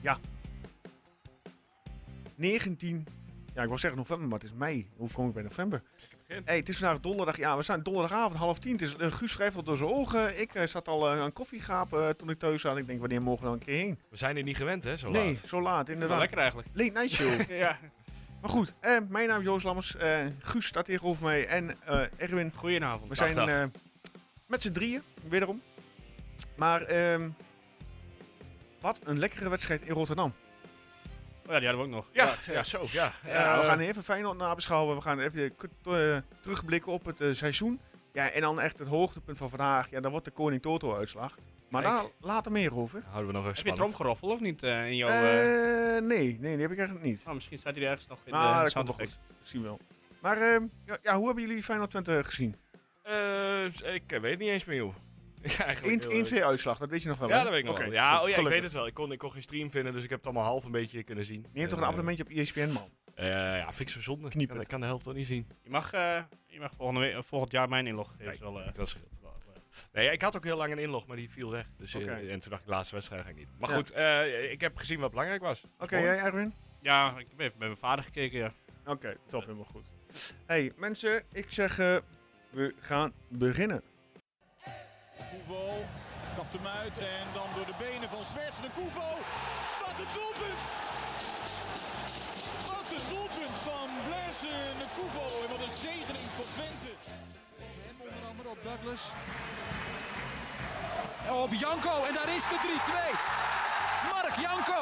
Ja. 19. Ja, ik wil zeggen november, maar het is mei. Hoe kom ik bij november? Hé, hey, het is vandaag donderdag. Ja, we zijn donderdagavond, half tien. Het is, eh, Guus schrijft al door zijn ogen. Ik eh, zat al eh, aan koffie gapen eh, toen ik thuis zat. Ik denk, wanneer mogen we dan een keer heen? We zijn er niet gewend, hè, zo nee, laat. zo laat, Wel inderdaad. lekker eigenlijk. Late night show. Ja. maar goed, eh, mijn naam is Joost Lammers. eh, Guus staat tegenover mij en eh, Erwin. Goedenavond. We Dag, zijn dag. eh, met z'n drieën, wederom. Maar ehm, wat een lekkere wedstrijd in Rotterdam. Oh ja, die hadden we ook nog. Ja, ja, zo, ja. Ja, we Eh, gaan even Feyenoord nabeschouwen. We gaan even k- eh, terugblikken op het eh, seizoen. Ja, en dan echt het hoogtepunt van vandaag. Ja, dan wordt de Koning Toto-uitslag. Maar Kijk. daar later meer over. Houden we nog even Heb je spannend. tromgeroffel of niet eh, in jouw... eh, Eh, nee, nee, die heb ik eigenlijk niet. oh, misschien staat hij er ergens nog in Nou, de dat komt sound wel effect. goed. Ah, Misschien wel. Maar ehm, ja, ja, hoe hebben jullie Feyenoord Twente gezien? Eh, ik eh, weet niet eens meer, joh. Ja, eigenlijk heel leuk. 1-2 uitslag, dat weet je nog wel. Ja, hè? dat weet ik nog Oké, wel. Ja, oh, ja, ik gelukkig. weet het wel. Ik kon, ik kon geen stream vinden, dus ik heb het allemaal half een beetje kunnen zien. Neem toch En, een eh, abonnementje op E ESPN, man. eh, ja, vind ik zo zonde. Ik kan, Kniepunt. ik kan de helft toch niet zien. Je mag, eh, je mag volgende week- eh, volgend jaar mijn inlog geven. Kijk, is wel, eh, dat scheelt. Nee, ik had ook heel lang een inlog, maar die viel weg. Dus, eh, Oké. en toen dacht ik, laatste wedstrijd ga ik niet. Maar Ja. goed, eh, ik heb gezien wat belangrijk was. Oké, jij Erwin? ja, ik heb even bij mijn vader gekeken. Ja. Oké, top, helemaal goed. Hey mensen, ik zeg, eh, we gaan beginnen. Koevo kapt hem uit en dan door de benen van Zwerts de Koevo. Wat een doelpunt! Wat een doelpunt van Blaise de Koevo en wat een zegening voor Twente. En onder andere op Douglas. Op Janko en daar is de 3-2. Mark Janko.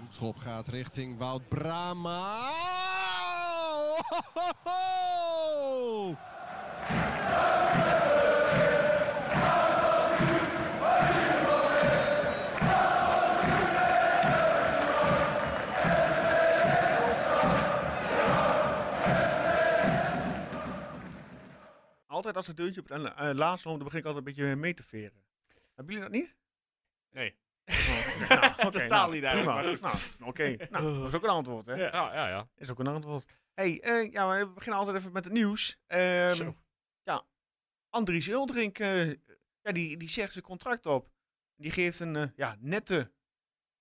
Hoekschop gaat richting Wout Brama. Altijd als het deuntje op het la- eh, laatste loopt, dan begin ik altijd een beetje mee te veren. Hebben jullie dat niet? Nee. Oh, nou, oké, Totaal nou, niet eigenlijk, prima. Nou, oké. Nou, dat is ook een antwoord, hè? Ja. Ja, ja, ja. Is ook een antwoord. hey, eh, ja, maar we beginnen altijd even met het nieuws. Ehm, Zo. Ja, Andries Uldrink, eh, ja, die, die zegt zijn contract op. Die geeft een eh, ja, nette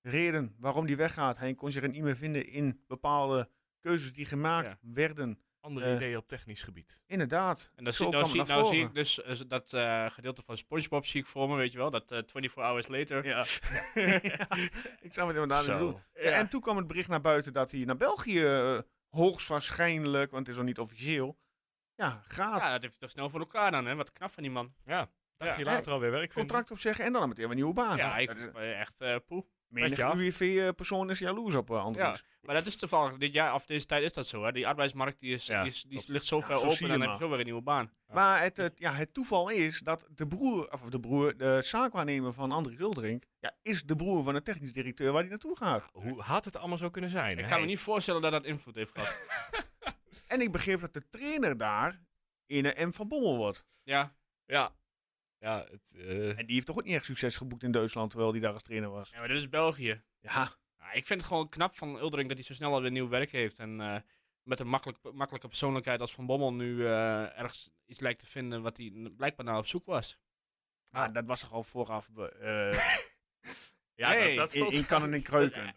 reden waarom die weggaat. Hij kon zich er niet meer vinden in bepaalde keuzes die gemaakt werden. Andere Eh. ideeën op technisch gebied. Inderdaad. En dan Zo zie, nou, kwam zie, het naar nou voren. zie ik dus eh, z- dat eh, gedeelte van SpongeBob zie ik voor me, weet je wel. Dat eh, 24 hours later. Ja. Nou, ik zou het inderdaad niet Zo. doen. Ja, En toen kwam het bericht naar buiten dat hij naar België eh, hoogstwaarschijnlijk, want het is nog niet officieel, ja, gaat. Ja, dat heeft hij toch snel voor elkaar dan, hè? Wat knap van die man. Ja, dacht Ja. je later alweer werk vinden. contract opzeggen en dan meteen weer een nieuwe baan. ja, ik, Dat is- eh, echt eh poe. Menig Petje af. UWV-persoon is jaloers op eh, Andries. Ja, Maar dat is toevallig, dit jaar of deze tijd is dat zo, hè? Die arbeidsmarkt die is, Ja, die is, die klopt. ligt zo Ja, ver zo open, zie en je dan maar. heb je zo weer een nieuwe baan. Maar het, het- ja, het toeval is dat de broer, of de broer, de zaakwaarnemer van Andries Uldering, ja, is de broer van de technisch directeur waar hij naartoe gaat. Hoe had het allemaal zo kunnen zijn? Ik hè? kan me niet voorstellen dat dat invloed heeft gehad. En ik begreep dat de trainer daar in een M van Bommel wordt. ja. Ja. Ja, het, eh, En die heeft toch ook niet echt succes geboekt in Duitsland, terwijl die daar als trainer was. ja, maar dit is België. Ja, Ja, ik vind het gewoon knap van Uldering dat hij zo snel alweer nieuw werk heeft. En eh, met een makkelijk, makkelijke persoonlijkheid als Van Bommel nu eh, ergens iets lijkt te vinden wat hij n- blijkbaar naar op zoek was. Ah, dat was toch al vooraf be- eh, ja Nee, dat, dat in, stond- in Kannen en Kreuken.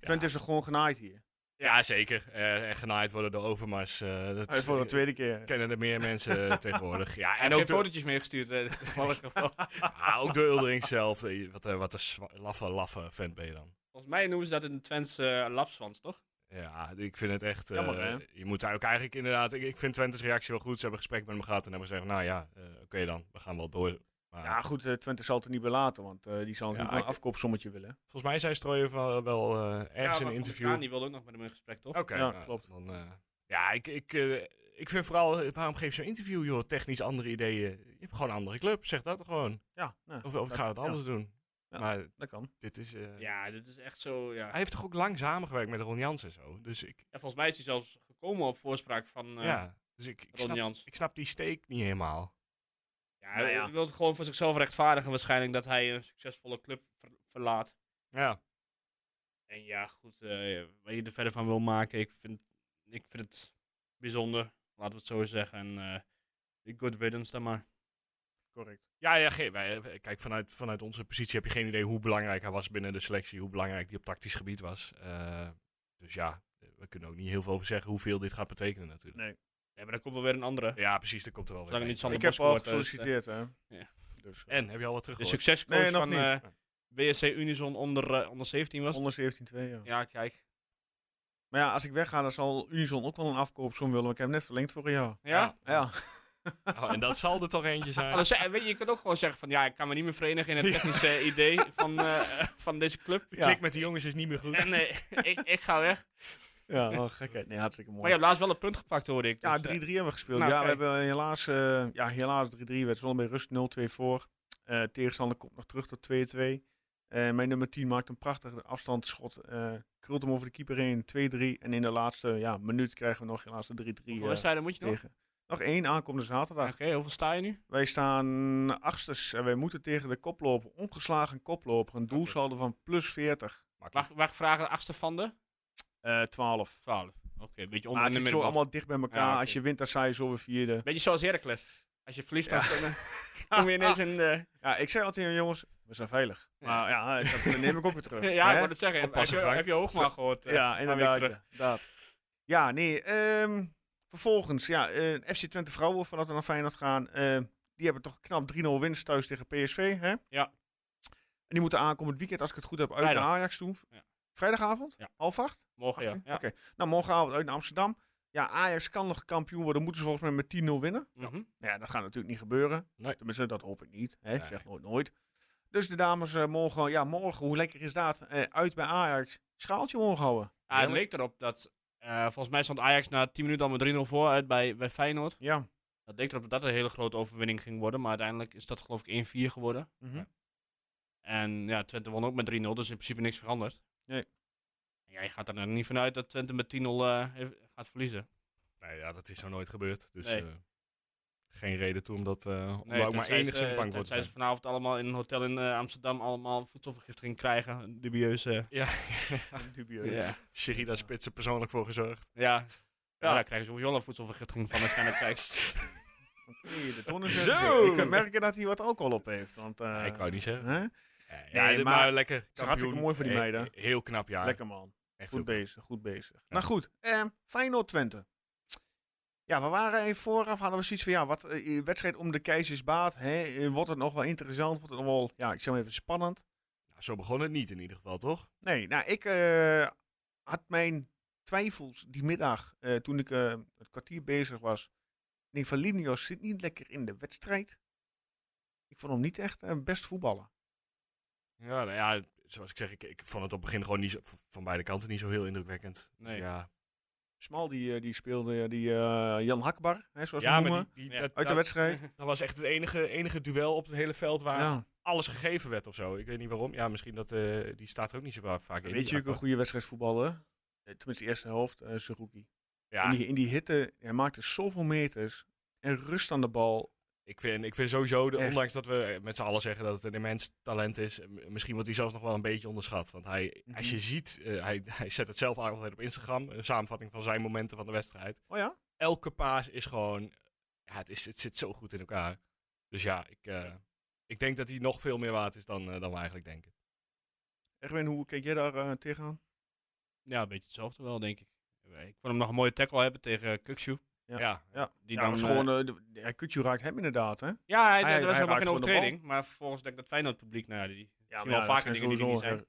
Twente is er gewoon genaaid hier. Ja, zeker. Eh, en genaaid worden door Overmars. eh, dat eh, Hij voor de tweede keer. kennen er meer mensen eh, tegenwoordig. Ja, En en ook ook geen door, fotootjes meegestuurd. eh, in alle geval. ah, ook door Uldering zelf. Eh, Wat, een wat een zwa- laffe, laffe vent ben je dan. Volgens mij noemen ze dat een Twents eh lapswans, toch? Ja, ik vind het echt... eh, Jammer, hè? je moet daar ook eigenlijk inderdaad... Ik, ik vind Twente's reactie wel goed. Ze hebben een gesprek met hem gehad en hebben gezegd... Nou ja, eh, oké dan, we gaan wel door. Maar Ja, goed, eh, Twente zal het er niet belaten, want eh, die zal natuurlijk Ja, wel een afkoopsommetje willen. volgens mij zei Strooijen wel, wel eh, Ja, ergens in maar een Van interview... Kaan, Die wilde ook nog met hem in gesprek, toch? Oké, Ja, nou, klopt. Dan, eh, ja, ik, ik, eh, ik vind vooral, eh, waarom geef je zo'n interview, joh, technisch andere ideeën? Je hebt gewoon een andere club, zeg dat gewoon. Ja, nou, Of, of ik dat- ga het ja. anders doen. Ja. Maar dat kan. dit is... eh, Ja, dit is echt zo. Ja. Hij heeft toch ook lang samengewerkt met Ron Jans en zo. Dus ik, En volgens mij is hij zelfs gekomen op voorspraak van eh ja, dus ik, ik, Ron snap, Jans. ik snap die steek niet helemaal. Ja, Nou hij ja. wil het gewoon voor zichzelf rechtvaardigen waarschijnlijk dat hij een succesvolle club ver- verlaat. Ja, En ja, goed, eh, wat je er verder van wil maken, ik vind, ik vind het bijzonder. Laten we het zo zeggen. En eh, good riddance dan maar. correct. Ja, ja ge- wij, wij- kijk, vanuit, vanuit onze positie heb je geen idee hoe belangrijk hij was binnen de selectie, hoe belangrijk die op tactisch gebied was. Eh, dus ja, we kunnen ook niet heel veel over zeggen hoeveel dit gaat betekenen natuurlijk. Nee. Ja, maar dan komt er weer een andere. Ja, precies, dat komt er wel weer. Zolang bij. niet Sander ik heb Bos al wordt, eh, gesolliciteerd, hè. Ja. Dus, eh, En, heb je al wat De teruggehoord? succescoach Nee, nog van niet. eh BSC Unison onder, eh, onder 17 was. het? onder 17-2, ja. Ja, kijk. Maar ja, als ik wegga, dan zal Unison ook wel een afkoopsom willen. Want ik heb hem net verlengd voor een jaar. Ja? Ja, Oh, en dat zal er toch eentje zijn. Alles, eh, weet je, je kunt ook gewoon zeggen van ja, ik kan me niet meer verenigen in het technische eh, idee van, eh, van deze club. De Ja. klik met die jongens is niet meer goed. En eh, ik, ik ga weg. ja oh, gekheid. Nee, hartstikke mooi. Maar je hebt laatst wel een punt gepakt, hoorde ik. Ja, 3-3 dus, eh, hebben we gespeeld. Nou, ja, kijk. we hebben helaas, eh, ja, helaas 3-3. werd zonder bij rust 0-2 voor. Eh, tegenstander komt nog terug tot 2-2. Eh, mijn nummer 10 maakt een prachtig afstandsschot. eh krult hem over de keeper heen, 2-3. En in de laatste ja, minuut krijgen we nog helaas de 3-3 Hoeveel eh, wedstrijden moet je nog? tegen. Nog één aankomende zaterdag. Oké, hoeveel sta je nu? Wij staan achters en wij moeten tegen de koploper, ongeslagen koploper, een doelsaldo van plus 40, Mag, mag ik vragen, achtste van de? eh 12. 12. Oké, een beetje onder Maar in Ah, het de zit zo middenbal. allemaal dicht bij elkaar. Ja, oké. Als je wint, dan sta je zo weer vierde. Beetje zoals Heracles. Als je verliest, dan dan, eh, kom je ineens in de... Ja, ik zei altijd, jongens, we zijn veilig. Ja. Maar ja, dat dat neem ik ook weer terug. ja, ik Hè? wou het zeggen. Heb, Oppassen, heb je, Frank. heb je Hoogma gehoord? eh, ja een paar weken inderdaad. terug? Ja, inderdaad. ja nee. ehm, vervolgens, ja, eh, FC Twente Vrouwen, voordat we naar Feyenoord gaan. eh, die hebben toch knap 3-0 winst thuis tegen PSV, hè? Ja. En die moeten aankomend weekend, als ik het goed heb, uit Vrijdag. naar Ajax toe. Ja. Vrijdagavond? Ja. Half acht? Morgen, ja. ja. Oké. Nou, morgenavond uit naar Amsterdam. Ja, Ajax kan nog kampioen worden. Moeten ze volgens mij met 10-0 winnen. Mhm. Nou ja, dat gaat natuurlijk niet gebeuren. Nee. Tenminste, dat hoop ik niet. Hè? Nee. Zeg nooit nooit. Dus de dames eh, morgen, ja, morgen, hoe lekker is dat? Eh, uit bij Ajax. Schaaltje omgehouden. Ah, het leek erop dat... eh, volgens mij stond Ajax na 10 minuten al met 3-0 voor uit bij, bij Feyenoord. Ja. Dat leek erop dat dat een hele grote overwinning ging worden. Maar uiteindelijk is dat geloof ik 1-4 geworden. Mhm. En ja, Twente won ook met 3-0. Dus in principe niks veranderd. Nee. Ja, je gaat er nou niet vanuit dat Twente met 10-0 eh, heeft- gaat verliezen. Nee, ja, dat is nou nooit gebeurd. Dus Nee. eh, geen reden toe om dat eh, om Nee, daar ook maar tenzij ze- enigszins bang voor te tenzij zijn. ze vanavond allemaal in een hotel in eh, Amsterdam allemaal voedselvergiftiging krijgen. Een Dubieuze. Ja, Dubieus. Ja. Sherida Spits er persoonlijk voor gezorgd. Ja. ja, daar krijgen ze sowieso al een voedselvergiftiging van als je naar kijkt. Nee, de tonnen Zo! zijn Ik kan merken dat hij wat alcohol op heeft. Want, eh, ik wou niet zeggen. hè? ja, Nee, dit- maar maar, lekker. is hartstikke kampioen. mooi voor die He- meiden. heel knap jaar. Lekker man. Echt Goed ook. bezig, goed bezig. Nou goed, ehm Feyenoord Twente. Ja, we waren even vooraf, hadden we zoiets van, ja, wat, eh, wedstrijd om de keizersbaat. Hè? Eh, Wordt het nog wel interessant? Wordt het nog wel, ja, ik zeg maar even spannend? Nou, zo begon het niet in ieder geval, toch? Nee, nou, ik eh, had mijn twijfels die middag eh, toen ik eh, het kwartier bezig was. Ik denk van Linios zit niet lekker in de wedstrijd. Ik vond hem niet echt eh, best voetballen. Ja, nou ja, zoals ik zeg, ik, ik vond het op het begin gewoon niet zo- van beide kanten niet zo heel indrukwekkend. Dus Nee. ja, Smal die, eh, die speelde eh, die eh, Jan Hakbar, hè, zoals we ja hem maar noemen, die, die, Ja. uit dat, de dat- wedstrijd. dat was echt het enige, enige duel op het hele veld waar Ja. alles gegeven werd of zo. Ik weet niet waarom. Ja, misschien dat eh, die staat er ook niet zo va- vaak in. Weet je, die ook een goede wedstrijd voetballen. Eh, Tenminste, de eerste helft, eh Saruki. Ja, In, die, in die hitte, hij maakte zoveel meters en rust aan de bal. Ik vind, ik vind sowieso, de, Echt. ondanks dat we met z'n allen zeggen dat het een immens talent is, m- misschien wordt hij zelfs nog wel een beetje onderschat. Want hij, Mhm. als je ziet, eh, hij, hij zet het zelf altijd op Instagram, een samenvatting van zijn momenten van de wedstrijd. Oh ja? Elke paas is gewoon, ja, het, is, het zit zo goed in elkaar. Dus ja, ik, eh, ik denk dat hij nog veel meer waard is dan, eh, dan we eigenlijk denken. Erwin, hoe keek jij daar eh, tegenaan? ja, een beetje hetzelfde wel, denk ik. Ik vond hem nog een mooie tackle hebben tegen Kukshu. Ja. Ja, Ja, Die ja, dan, was eh, gewoon, eh, de- ja, Kutju raakt hem inderdaad, hè? Ja, Hij- hij, er was hij helemaal raakt geen gewoon de overtreding. Maar vervolgens denk ik dat Feyenoord publiek, nou ja, die Ja, wel vaker dingen die er niet zijn.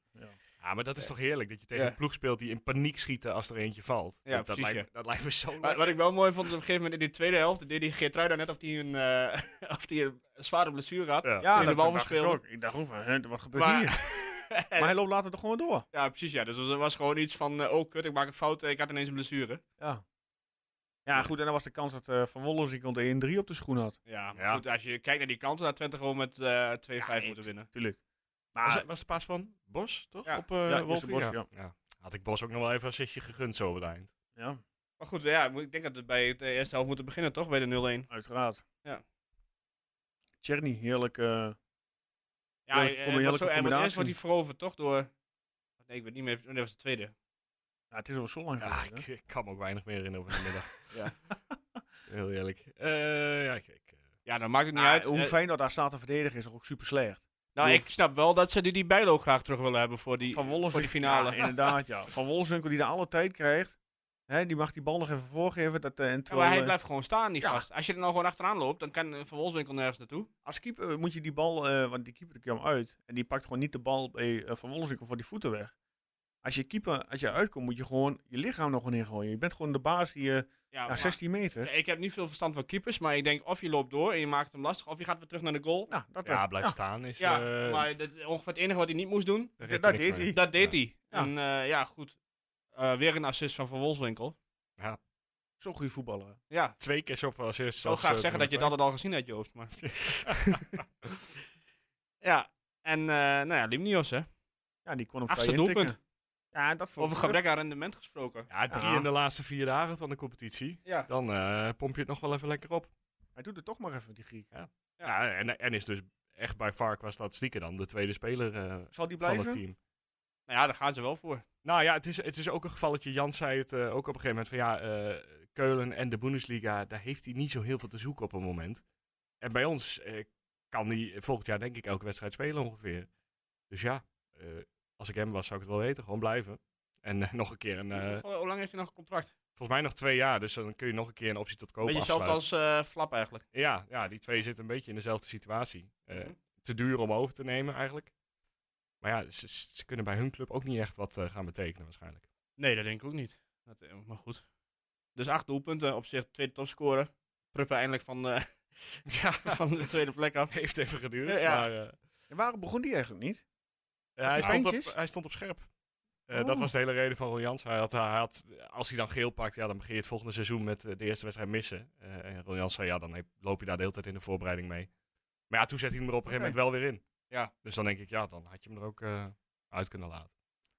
Ja, maar dat is toch heerlijk dat je tegen Ja. een ploeg speelt die in paniek schieten als er eentje valt. Ja, dat, dat, precies, lijkt, dat lijkt me zo Wat, wat ik wel mooi vond, is op een gegeven moment in die tweede helft deed die Geertruida net of die een, eh, of die een zware blessure had. Ja. Ja, die de bal dacht ik verspeelde. ook. Ik dacht ook van, hè, wat gebeurt Maar- hier? maar hij loopt later toch gewoon door. Ja, precies. Ja. Dus dat was gewoon iets van, eh, oh kut, ik maak een fout, eh, ik had ineens een blessure. Ja. Ja, goed, en dan was de kans dat eh, Van Wollersiekel de 1-3 op de schoen had. Ja, maar Ja. goed, als je kijkt naar die kansen, had Twente gewoon met eh 2-5 moeten winnen. Tuurlijk. Was, Maar was de paas van Bos, toch? Ah. Ja. Op eh Ja, Wolfie? Jesse Bos, ja. Had ik Bos ook nog wel even een zitje gegund zo op het eind. ja, Maar goed, ja, ik moet- ik denk dat we bij de eerste helft moeten beginnen, toch? Bij de 0-1. uiteraard. Ja. Tjerni, heerlijk. eh, Ja, Ja, eh, kom een wat heerlijke zo- en wat eerst combinatie. wordt hij veroverd, toch? Door... Nee, ik weet niet meer. oh, nee, dat was de tweede. ja, het is al zo lang Ja, geleden. Ah, ik, hè? ik kan me ook weinig meer in over de middag. Ja. Heel eerlijk. Eh, ja, ik, ik, eh, Ja, dat maakt het niet Ah, uit. hoe Eh, fijn dat daar staat te verdedigen is ook super slecht. nou, hoeft- ik snap wel dat ze die, die Bijlo graag terug willen hebben voor die, Van Wolfswinkel. voor die finale. Ja, inderdaad, ja. Van Wolfswinkel die daar alle tijd krijgt. Hè, die mag die bal nog even voorgeven. Dat, eh, en Ja, terwijl, maar hij eh, blijft gewoon staan, die Ja. gast. Als je er nou gewoon achteraan loopt, dan kan eh, Van Wolfswinkel nergens naartoe. Als keeper moet je die bal, eh, want die keeper kwam uit. En die pakt gewoon niet de bal bij eh, Van Wolfswinkel voor die voeten weg. Als je keeper, als je uitkomt, moet je gewoon je lichaam nog gewoon ingooien. Je bent gewoon de baas hier, eh, Ja, ja, maar- 16 meter. Ja, ik heb niet veel verstand van keepers, maar ik denk of je loopt door en je maakt hem lastig, of je gaat weer terug naar de goal. Nou, dat Ja, wel. blijf staan is... Ja, eh, maar dat is ongeveer het enige wat hij niet moest doen. daar redt dat niks deed mee. hij. Dat deed hij. Ja. En eh, ja, goed. Eh, weer een assist van Van Wolfswinkel. Zo'n goede voetballer. Ja, Twee keer zoveel assists ik zou als, graag eh, zeggen dat je dat Donovan. het al gezien had, Joost. Maar... ja, en eh nou ja, Limnios, hè. Ja, die kon hem Achtste vrij intikken. doelpunt. Ja, dat vond Over ik gebrek aan rendement gesproken. Ja, drie Ja. in de laatste vier dagen van de competitie. Ja. Dan eh, pomp je het nog wel even lekker op. terug. Hij doet het toch maar even, die Griek. Ja. en, en is dus echt bij VAR qua statistieken dan de tweede speler eh, Zal die van het blijven? team. Nou ja, daar gaan ze wel voor. Nou ja, het is, het is ook een gevalletje. Jan zei het eh, ook op een gegeven moment van ja, eh, Keulen en de Bundesliga, daar heeft hij niet zo heel veel te zoeken op een moment. En bij ons eh, kan hij volgend jaar denk ik elke wedstrijd spelen ongeveer. Dus ja, eh, als ik hem was zou ik het wel weten. Gewoon blijven. En eh, nog een keer een, eh, Hoe- Hoe lang heeft hij nog een contract? volgens mij nog twee jaar. Dus dan kun je nog een keer een optie tot koop Beetje hetzelfde afsluiten. als eh, Flap eigenlijk. Ja, ja, die twee zitten een beetje in dezelfde situatie. Eh, Mhm. Te duur om over te nemen eigenlijk. Maar ja, ze, ze- ze kunnen bij hun club ook niet echt wat eh, gaan betekenen waarschijnlijk. Nee, dat denk ik ook niet. Dat, eh, maar goed. Dus acht doelpunten op zich, tweede topscorer. Pruppen eindelijk van, eh, Ja, van de tweede plek af. heeft even geduurd. Ja. Maar, eh, En waarom begon die eigenlijk niet? ja, hij, die stond eindjes? op, hij stond op scherp. Eh, Oh. Dat was de hele reden van Roljans. Hij had, hij had, als hij dan geel pakt, ja, dan begin je het volgende seizoen met eh, de eerste wedstrijd missen. Eh, en Roljans zei, ja, dan heb- loop je daar de hele tijd in de voorbereiding mee. Maar ja, toen zet hij hem er op een gegeven Oké. moment wel weer in. Ja. Dus dan denk ik, ja, dan had je hem er ook eh, uit kunnen laten.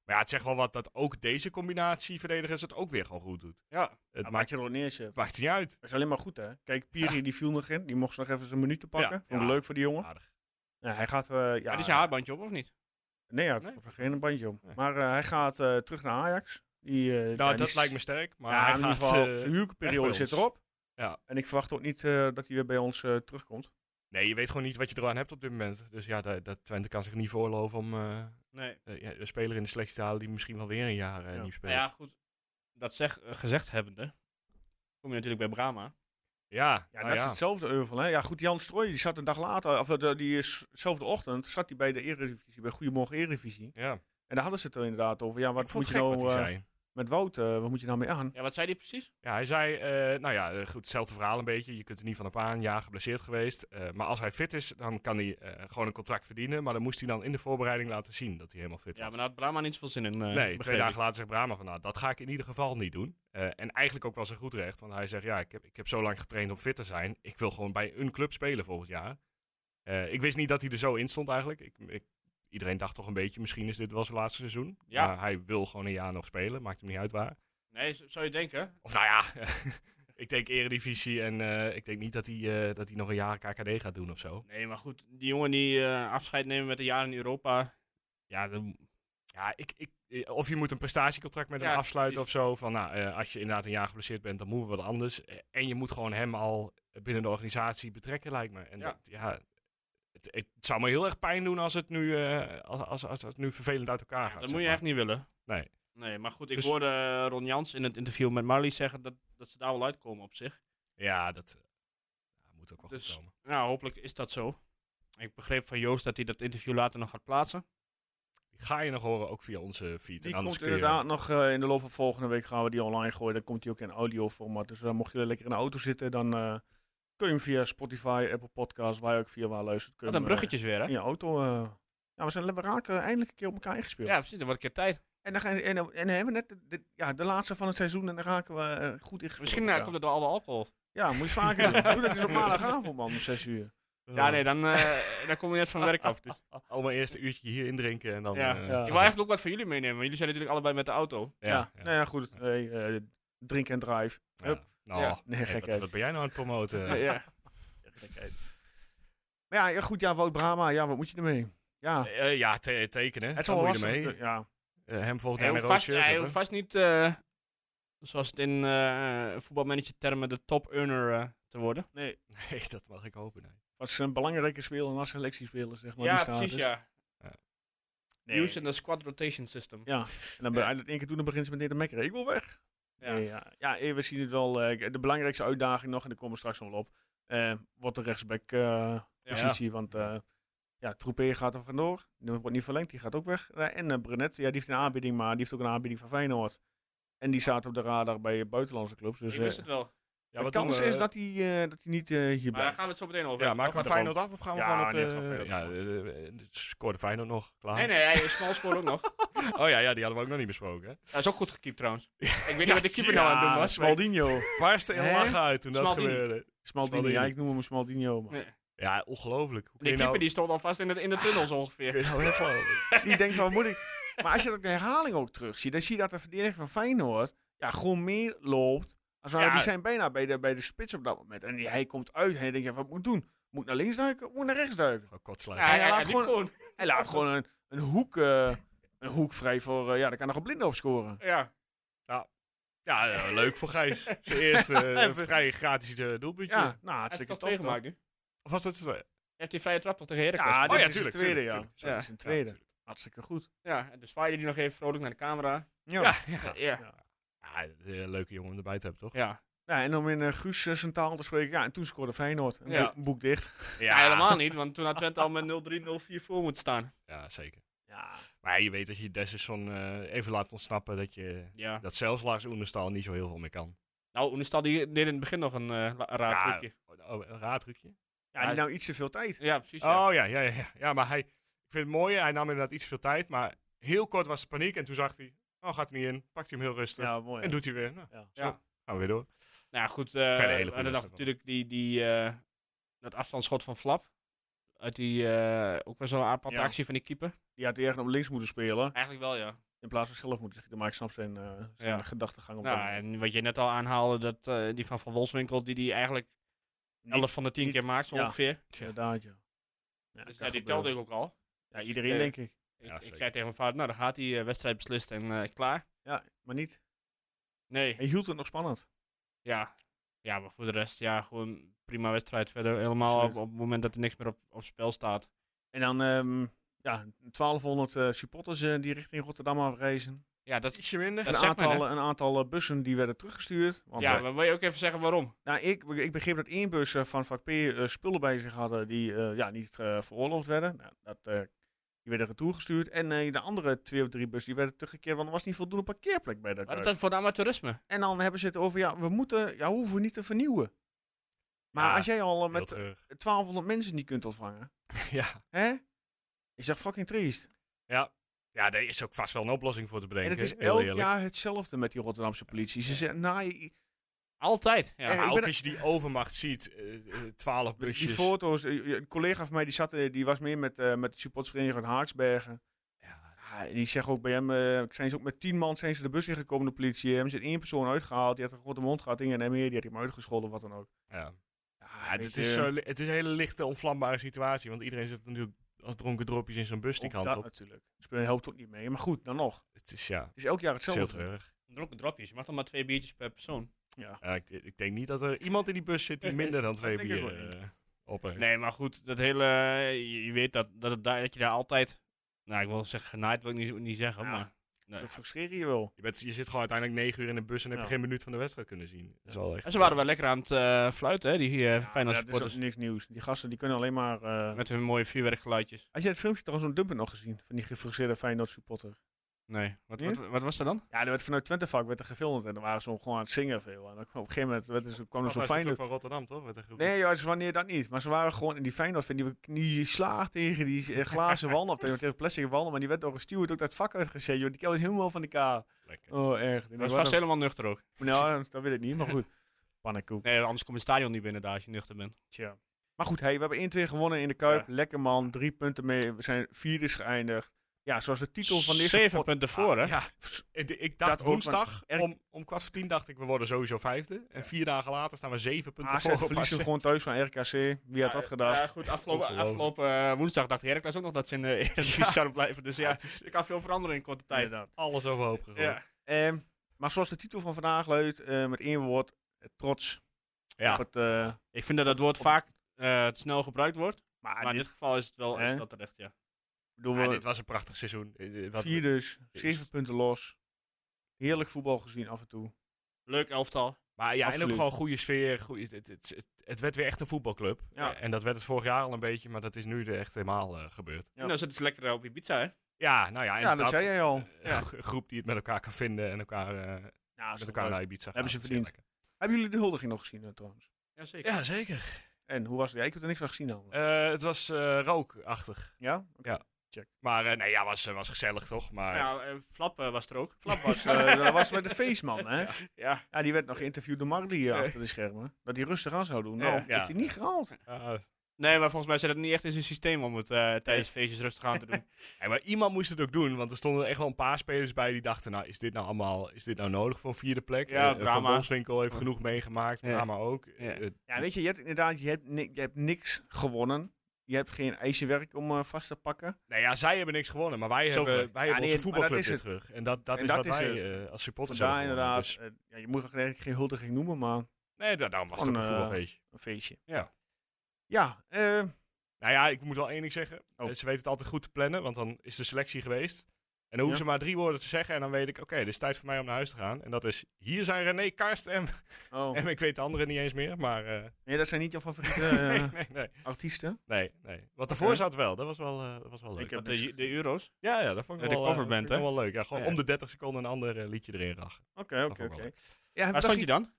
Maar ja, het zegt wel wat dat ook deze combinatie verdedigers het ook weer gewoon goed doet. Ja. Het Ja, maakt, maakt je er ook neer, chef. het maakt niet uit. Dat is alleen maar goed, hè? Kijk, Piri die viel nog in. Die mocht nog even zijn minuten pakken. Vond ik Ja. leuk voor die jongen. Aardig. Ja, hij gaat... eh ja, Had hij zijn haarbandje op of niet? Nee, hij had Nee. geen bandje om. Nee. Maar eh, hij gaat eh, terug naar Ajax. Die, eh, ja, Nou, die dat s- lijkt me sterk. Maar ja, hij in ieder gaat, geval, eh, zijn huurperiode weg bij zit ons. erop. Ja. En ik verwacht ook niet eh, dat hij weer bij ons eh, terugkomt. nee, je weet gewoon niet wat je eraan hebt op dit moment. Dus ja, dat, dat Twente kan zich niet voorloven om eh, Nee. eh, ja, een speler in de selectie te houden die misschien wel weer een jaar eh, Ja. niet speelt. Nou ja, goed. Dat zeg, eh, gezegd hebbende, kom je natuurlijk bij Brahma. Ja, Ja, nou dat is ja. hetzelfde euvel, hè? Ja, goed, Jan Strooij, die zat een dag later, of eh, diezelfde ochtend, zat hij bij de Eredivisie, bij Goedemorgen Eredivisie. Ja, ik En daar hadden ze het er inderdaad over. Ja, wat vond moet het je gek nou wat hij eh, zei. met Wout, eh, wat moet je nou mee aan? Ja, wat zei hij precies? Ja, hij zei, eh, nou ja, eh, goed, hetzelfde verhaal een beetje. Je kunt er niet van op aan, ja, geblesseerd geweest. Eh, maar als hij fit is, dan kan hij eh, gewoon een contract verdienen. Maar dan moest hij dan in de voorbereiding laten zien dat hij helemaal fit Ja, maar was. daar had Brahma niet zoveel zin in. eh, nee, begreep twee ik. dagen later zegt Brahma van, nou, dat ga ik in ieder geval niet doen. Eh, en eigenlijk ook wel zijn goed recht, want hij zegt, ja, ik heb, ik heb zo lang getraind om fit te zijn. Ik wil gewoon bij een club spelen volgend jaar. Eh, ik wist niet dat hij er zo in stond eigenlijk. Ik, ik, iedereen dacht toch een beetje, misschien is dit wel zijn laatste seizoen. Ja. Maar hij wil gewoon een jaar nog spelen, maakt hem niet uit waar. Nee, z- zou je denken. Of nou ja, ik denk Eredivisie en eh, ik denk niet dat hij, eh, dat hij nog een jaar KKD gaat doen of zo. Nee, maar goed. Die jongen die eh, afscheid nemen met een jaar in Europa. Ja, dan- Ja, ik, ik, eh, of je moet een prestatiecontract met Ja, hem afsluiten precies. of zo. Van nou, eh, als je inderdaad een jaar geblesseerd bent, dan moeten we wat anders. Eh, En je moet gewoon hem al binnen de organisatie betrekken, lijkt me. En Ja. dat, ja het, het zou me heel erg pijn doen als het nu, eh, als, als, als het nu vervelend uit elkaar gaat. dat zeg moet je maar. echt niet willen. Nee. Nee, maar goed. Ik Dus- hoorde eh, Ron Jans in het interview met Marley zeggen dat, dat ze daar wel uitkomen op zich. Ja, dat eh, moet ook wel Dus- goed komen. Nou, hopelijk is dat zo. Ik begreep van Joost dat hij dat interview later nog gaat plaatsen. Die Ga je nog horen, ook via onze feed. Die en anders komt kun je- inderdaad nog eh, in de loop van volgende week gaan we die online gooien. Dan komt die ook in audioformaat. Dus dan mocht je lekker in de auto zitten, dan eh, kun je hem via Spotify, Apple Podcasts, waar je ook via waar luistert. Kun je Wat een hem, eh, bruggetjes weer, hè? in je auto. eh, ja, we, zijn, we raken eindelijk een keer op elkaar ingespeeld. Ja, precies. Er wordt een keer tijd. En dan, gaan, en, dan- en dan hebben we net de, de- ja, de laatste van het seizoen en dan raken we eh, goed ingespeeld. Misschien op eh, elkaar. komt het door alle alcohol. Ja, moet je eens vaker doen. Doe dat eens op maandagavond, man, om 6 uur. Ja, nee, dan, eh, dan kom je net van werk af. Dus. Allemaal eerst een uurtje hier indrinken en dan... eh, Ja. Ja. Ik wil eigenlijk ook wat van jullie meenemen, want jullie zijn natuurlijk allebei met de auto. Ja, Nou ja, goed. Hey, eh, drink en drive. Hup. Nou, Ja. Nee, hey, gekheid. wat, wat ben jij nou aan het promoten? Ja. Maar ja, ja, goed, ja, Wout Brama, ja, wat moet je ermee? Ja, Eh, ja, te- tekenen. het Het zal wel moet je lastig. ermee. Ja, Eh, hem volgend Hij jaar hoeft met vast, roosje. hij hoeft vast niet, eh, zoals het in eh voetbalmanager termen de top earner eh, te worden. Nee, Nee, dat mag ik hopen. nee. was een belangrijke speler dan selectiespeler, zeg maar. ja, die staat precies, dus. ja. Nee. Use in the squad rotation system. Ja, dus en dan ben je één keer doen, dan begint ze meteen te mekkeren. Ik wil weg. Ja. Nee, ja. ja, eh, we zien het wel. eh, de belangrijkste uitdaging nog, en daar komen we straks nog wel op, eh, wordt de rechtsback-positie. Want eh ja, Troepé gaat er vandoor. Die wordt niet verlengd, die gaat ook weg. Eh, en eh, Brenet, ja, die heeft een aanbieding, maar die heeft ook een aanbieding van Feyenoord. En die staat op de radar bij buitenlandse clubs. Dus ik eh, wist het wel. Ja, de wat kans doen we? is dat hij eh, dat hij niet eh, hier Maar daar blijft. gaan we het zo meteen over Ja, hebben. maken we gaan we Feyenoord af of gaan we Ja, gewoon op nee, de... gaan we ja, Feyenoord eh, eh, scoorde Feyenoord nog, klaar. Nee, nee, hij is small score ook nog. Oh ja, ja, die hadden we ook nog niet besproken. hè. Hij is ook goed gekiept trouwens. Ik weet niet wat de keeper nou aan het doen ah, was. maar- Smaldinho. Waar is de Hè? lach uit toen dat Smaldini. gebeurde? Smaldinho, ja, ik noem hem Smaldinho. Maar. Nee. Ja, ongelooflijk. Hoe kun je Die keeper nou- die stond alvast in, het, in de tunnels ongeveer. kun je nou wegvallen? Die denkt van, moet ik... Maar als je dat ook de herhaling ook terugziet, dan zie je dat de verdediger van Feyenoord ja, gewoon meer loopt. Als waren, Ja. Die zijn bijna bij de, bij de spits op dat moment. En die- hij komt uit en hij denkt, ja, wat moet ik doen? Moet ik naar links duiken? Moet ik naar rechts duiken? Gewoon kotsluiten. Ja, hij, hij hij laat liep gewoon- gewoon. Hij laat gewoon een, een, hoek, eh, een hoek vrij voor, eh, ja, daar kan nog een blinde op scoren. Ja. Ja, eh, leuk voor Gijs. Zijn eerste eh, vrij gratis eh, doelpuntje. Ja, nou, Hij heeft hartstikke toch top. twee toch? gemaakt nu. Hij Of was dat zo? Ja, heeft die vrije trap toch tegen Heracles. Ja, Oh dit ja, is tuurlijk, een tweede, tuurlijk, ja. tuurlijk. Ja, dit is een tweede. tuurlijk. hartstikke goed. ja, en dus zwaaide die nog even vrolijk naar de camera. Ja. Ja, Ja. Ja, eh, leuke jongen om erbij te hebben, toch? Ja, Ja, en om in eh, Guus eh, zijn taal te spreken, ja, en toen scoorde Feyenoord. Een Ja. boek, een boek dicht. Ja, helemaal niet, want toen had Twente al met 0-3, 0-4 voor moeten staan. Ja, zeker. Ja, Maar je weet dat je Dessison eh even laat ontsnappen dat, je, Ja. dat zelfs Lars Oenestal niet zo heel veel meer kan. Nou, Oenestal die deed in het begin nog een eh, la- raar Ja. trucje. Oh, een raar trucje. ja die nou iets te veel tijd. Ja, precies. ja. Oh ja, ja, ja, ja. Ja, maar hij, ik vind het mooi, hij nam inderdaad iets veel tijd, maar heel kort was de paniek en toen zag hij, oh gaat hij niet in, pakt hij hem heel rustig Ja, mooi. en doet hij weer. Nou, Ja. zo, Ja. gaan we weer door. Nou ja, goed, eh Verder hele we goede hadden nog wedstrijd, natuurlijk die, die, eh, dat afstandsschot van Flap. Uit die, eh, ook wel zo'n aparte Ja. actie van die keeper. Die had ergens op links moeten spelen. Eigenlijk wel, ja. In plaats van zelf moeten schieten. Maar ik snap zijn, eh, zijn Ja. gedachtegang op dat Nou, moment. en wat je net al aanhaalde, dat, eh, die van Van Wolfswinkel, die die eigenlijk 11 van de 10 niet- keer maakt, zo ja. ongeveer. Inderdaad, ja. Ja, Dus, kan ja, die gebeuren. telde ik ook al. Ja, iedereen Eh, denk ik. Ik, Ja, ik zeker. zei tegen mijn vader, nou, dan gaat die eh, wedstrijd beslist en eh, klaar. Ja, maar niet. Nee, Hij hield het nog spannend. ja. Ja, maar voor de rest, ja, gewoon prima wedstrijd verder. Helemaal op, Absoluut. op het moment dat er niks meer op, op spel staat. En dan ehm, ja, 1200 eh, supporters eh, die richting Rotterdam afreizen. Ja, dat, Ietsje minder. Nou, Een zegt men, aantal, een aantal eh, bussen die werden teruggestuurd. Want, ja, eh, maar wil je ook even zeggen waarom? nou, ik, ik begreep dat één bus eh, van vak P eh, spullen bij zich hadden die eh, ja, niet eh, veroorloofd werden. Nou, dat, eh, die werden retourgestuurd. En eh, de andere twee of drie bussen die werden teruggekeerd, want er was niet voldoende parkeerplek bij dat Wat is huis. dat voor de amateurisme? En dan hebben ze het over, ja, we moeten, ja, hoeven we niet te vernieuwen. Maar Ja, als jij al eh, Heel met treurig. 1200 mensen niet kunt ontvangen, ja. hè? Is dat fucking triest. ja, daar is ook vast wel een oplossing voor te bedenken. en het is heel elk eerlijk. jaar hetzelfde met die Rotterdamse politie. Ze zeggen, nou, je- Altijd. Ja. Eh, Maar ik ook ben- als je die overmacht ziet, eh, eh, 12 busjes. die foto's, eh, een collega van mij die, zat, eh, die was meer met, eh, met de supportersvereniging uit Haaksbergen. Ja, Ah, en die zegt ook bij hem, eh, zijn ze ook met tien man zijn ze de bus ingekomen, de politie. Hebben ze één persoon uitgehaald, die had een grote mond gehad, en meer, die had hem uitgescholden, wat dan ook. ja. Ja, Ja, weet dit je, is zo, li- het is een hele lichte, onvlambare situatie. Want iedereen zit natuurlijk als dronken dropjes in zijn bus die ook kant dat op. natuurlijk. Het spelen helpt ook niet mee, maar goed, dan nog. Het is ja, Het is elk jaar het is heel hetzelfde. treurig. Dronken dropjes. Je mag dan maar twee biertjes per persoon. ja. Ja, ik, ik denk niet dat er iemand in die bus zit die minder dan twee denk ik ook bieren eh, op heeft. Nee, maar goed, dat hele. eh, Je, je weet dat, dat, het daar, dat je daar altijd. Nou, ik wil zeggen genaaid, wil ik niet, niet zeggen. Ja. Maar Nee. Zo frustreer je wel. Je, bent, je zit gewoon uiteindelijk negen uur in de bus en heb je Ja. geen minuut van de wedstrijd kunnen zien. Dat is wel echt, En ze waren wel lekker aan het eh, fluiten, hè, die eh Feyenoord Ja, dat is supporters. ook niks nieuws. Die gasten die kunnen alleen maar... eh, Met hun mooie vuurwerkgeluidjes. Had je het filmpje trouwens zo'n dumper nog gezien? Van die gefrustreerde Feyenoord supporter. Nee. Wat, Niet? wat, wat was dat dan? Ja, er werd vanuit Twente vak werd er gefilmd en dan waren ze gewoon aan het zingen veel. En dan kwam op een gegeven moment werd er zo- kwam er Dat zo'n was de Feyenoord... club van Rotterdam, toch? Met een groep. Nee, juist wanneer dat niet. Maar ze waren gewoon in die Feyenoord fan, die, die slaagt tegen die eh, glazen wanden of tegen, tegen plastic wanden. Maar die werd door een steward ook dat vak uitgezet, joh. Die was helemaal van de kaal. Lekker. Oh, erg. Ik Dat was denk, vast wat helemaal nuchter ook. een- Nou, dat weet ik niet, maar goed. Pannenkoek. Nee, anders kom je het stadion niet binnen daar als je nuchter bent. Tja. Maar goed, hey, we hebben 1-2 gewonnen in de Kuip. Lekker man, drie punten mee. We zijn vierde is geëindigd. Ja, zoals de Ah, titel van deze... Zeven pod- punten voor, hè? Ja, ik, ik dacht Dat wordt- woensdag, er- om, om kwart voor tien dacht ik, we worden sowieso vijfde. En vier dagen later staan we Ah, zeven punten AZ voor. op Ah, verliezen AZ. gewoon thuis van RKC. Wie had dat gedaan? Ja, goed, afgelopen, ongelooflijk. afgelopen eh, woensdag dacht Heracles ook nog dat ze in de Eredivisie zouden blijven. Dus ja, het is er kan veel veranderen in korte tijd. Inderdaad. alles overhoop gegooid. Ja. Ehm, maar zoals de titel van vandaag luidt, eh, met één woord, eh, trots. Ja. Op het, eh, Ik vind dat dat woord vaak eh, te snel gebruikt wordt. maar maar in dit, Ah, dit geval is het wel Hè? is dat terecht, ja. bedoel, Maar we- dit was een prachtig seizoen. Eh, eh, wat- vier dus, is- zeven punten los. Heerlijk voetbal gezien af en toe. Leuk elftal. Maar ja, en ook Absoluut. gewoon goede sfeer. Goede, het, het, het, het werd weer echt een voetbalclub. Ja. Eh, En dat werd het vorig jaar al een beetje, maar dat is nu er echt helemaal eh, gebeurd. Ja. En dan zit ze lekker eh, op Ibiza, hè? Ja, nou ja, en Ja, dat dat, zei jij al. eh, groep die het met elkaar kan vinden en elkaar, eh, Ja, is met toch elkaar leuk. naar Ibiza gaat. Hebben ze Dat is heel verdiend. Hebben jullie de huldiging nog gezien eh, trouwens? Jazeker. lekker. Ja, zeker. En hoe was het? Ja, ik heb er niks van gezien dan. Eh, het was eh, rookachtig. ja? Oké. ja. Maar eh, nee, ja, was, eh, was gezellig toch? Maar Nou, eh, Flap eh, was er ook. Flap was, eh, dat was met de feestman, hè? Ja. Ja. die werd nog geïnterviewd door Marley hier Nee. achter de schermen. Dat hij rustig aan zou doen. Nou, Ja. heeft hij niet gehaald. eh, Nee, maar volgens mij zit het niet echt in zijn systeem om het eh, tijdens feestjes rustig aan te doen. Hey, maar iemand moest het ook doen, want er stonden echt wel een paar spelers bij die dachten, nou is dit nou allemaal, is dit nou nodig voor een vierde plek? Ja, Eh, Van drama. Bolswinkel heeft genoeg meegemaakt, Ja. Brahma ook. Ja. Eh, Ja, weet je, je hebt inderdaad je hebt, ni- je hebt niks gewonnen. Je hebt geen ijzerwerk om eh, vast te pakken. nou ja, zij hebben niks gewonnen, maar wij Zo hebben, wij ver. Ja, hebben nee, maar onze dat voetbalclub is weer het. terug. En dat, dat En is dat wat is wij het. eh, als supporters Vandaar hebben gewonnen. inderdaad, Dus, eh, ja, je moet het eigenlijk geen huldiging noemen, maar nee, da- daarom was het ook Gewoon, een eh, voetbalfeestje. een feestje. Ja. Ja, eh, Nou ja, ik moet wel één ding zeggen. Oh. Eh, Ze weten het altijd goed te plannen, want dan is de selectie geweest. En dan hoeven Ja. ze maar drie woorden te zeggen en dan weet ik, oké, dit is tijd voor mij om naar huis te gaan. En dat is, hier zijn René, Karst en, oh. en ik weet de anderen niet eens meer, maar... eh, Nee, dat zijn niet jouw favoriete eh, nee, nee, nee. artiesten. Nee, nee. Wat ervoor Oké. zat wel. Dat was wel, eh, dat was wel leuk. Ik heb niks de, de euro's. ja, ja, dat vond ik Ja, wel, de eh, coverband, dat vond ik hè? wel leuk. Ja, gewoon Ja. om de 30 seconden een ander eh, liedje erin rachen. Oké, vond oké, ik wel oké. leuk. Ja, Waar stond je dan?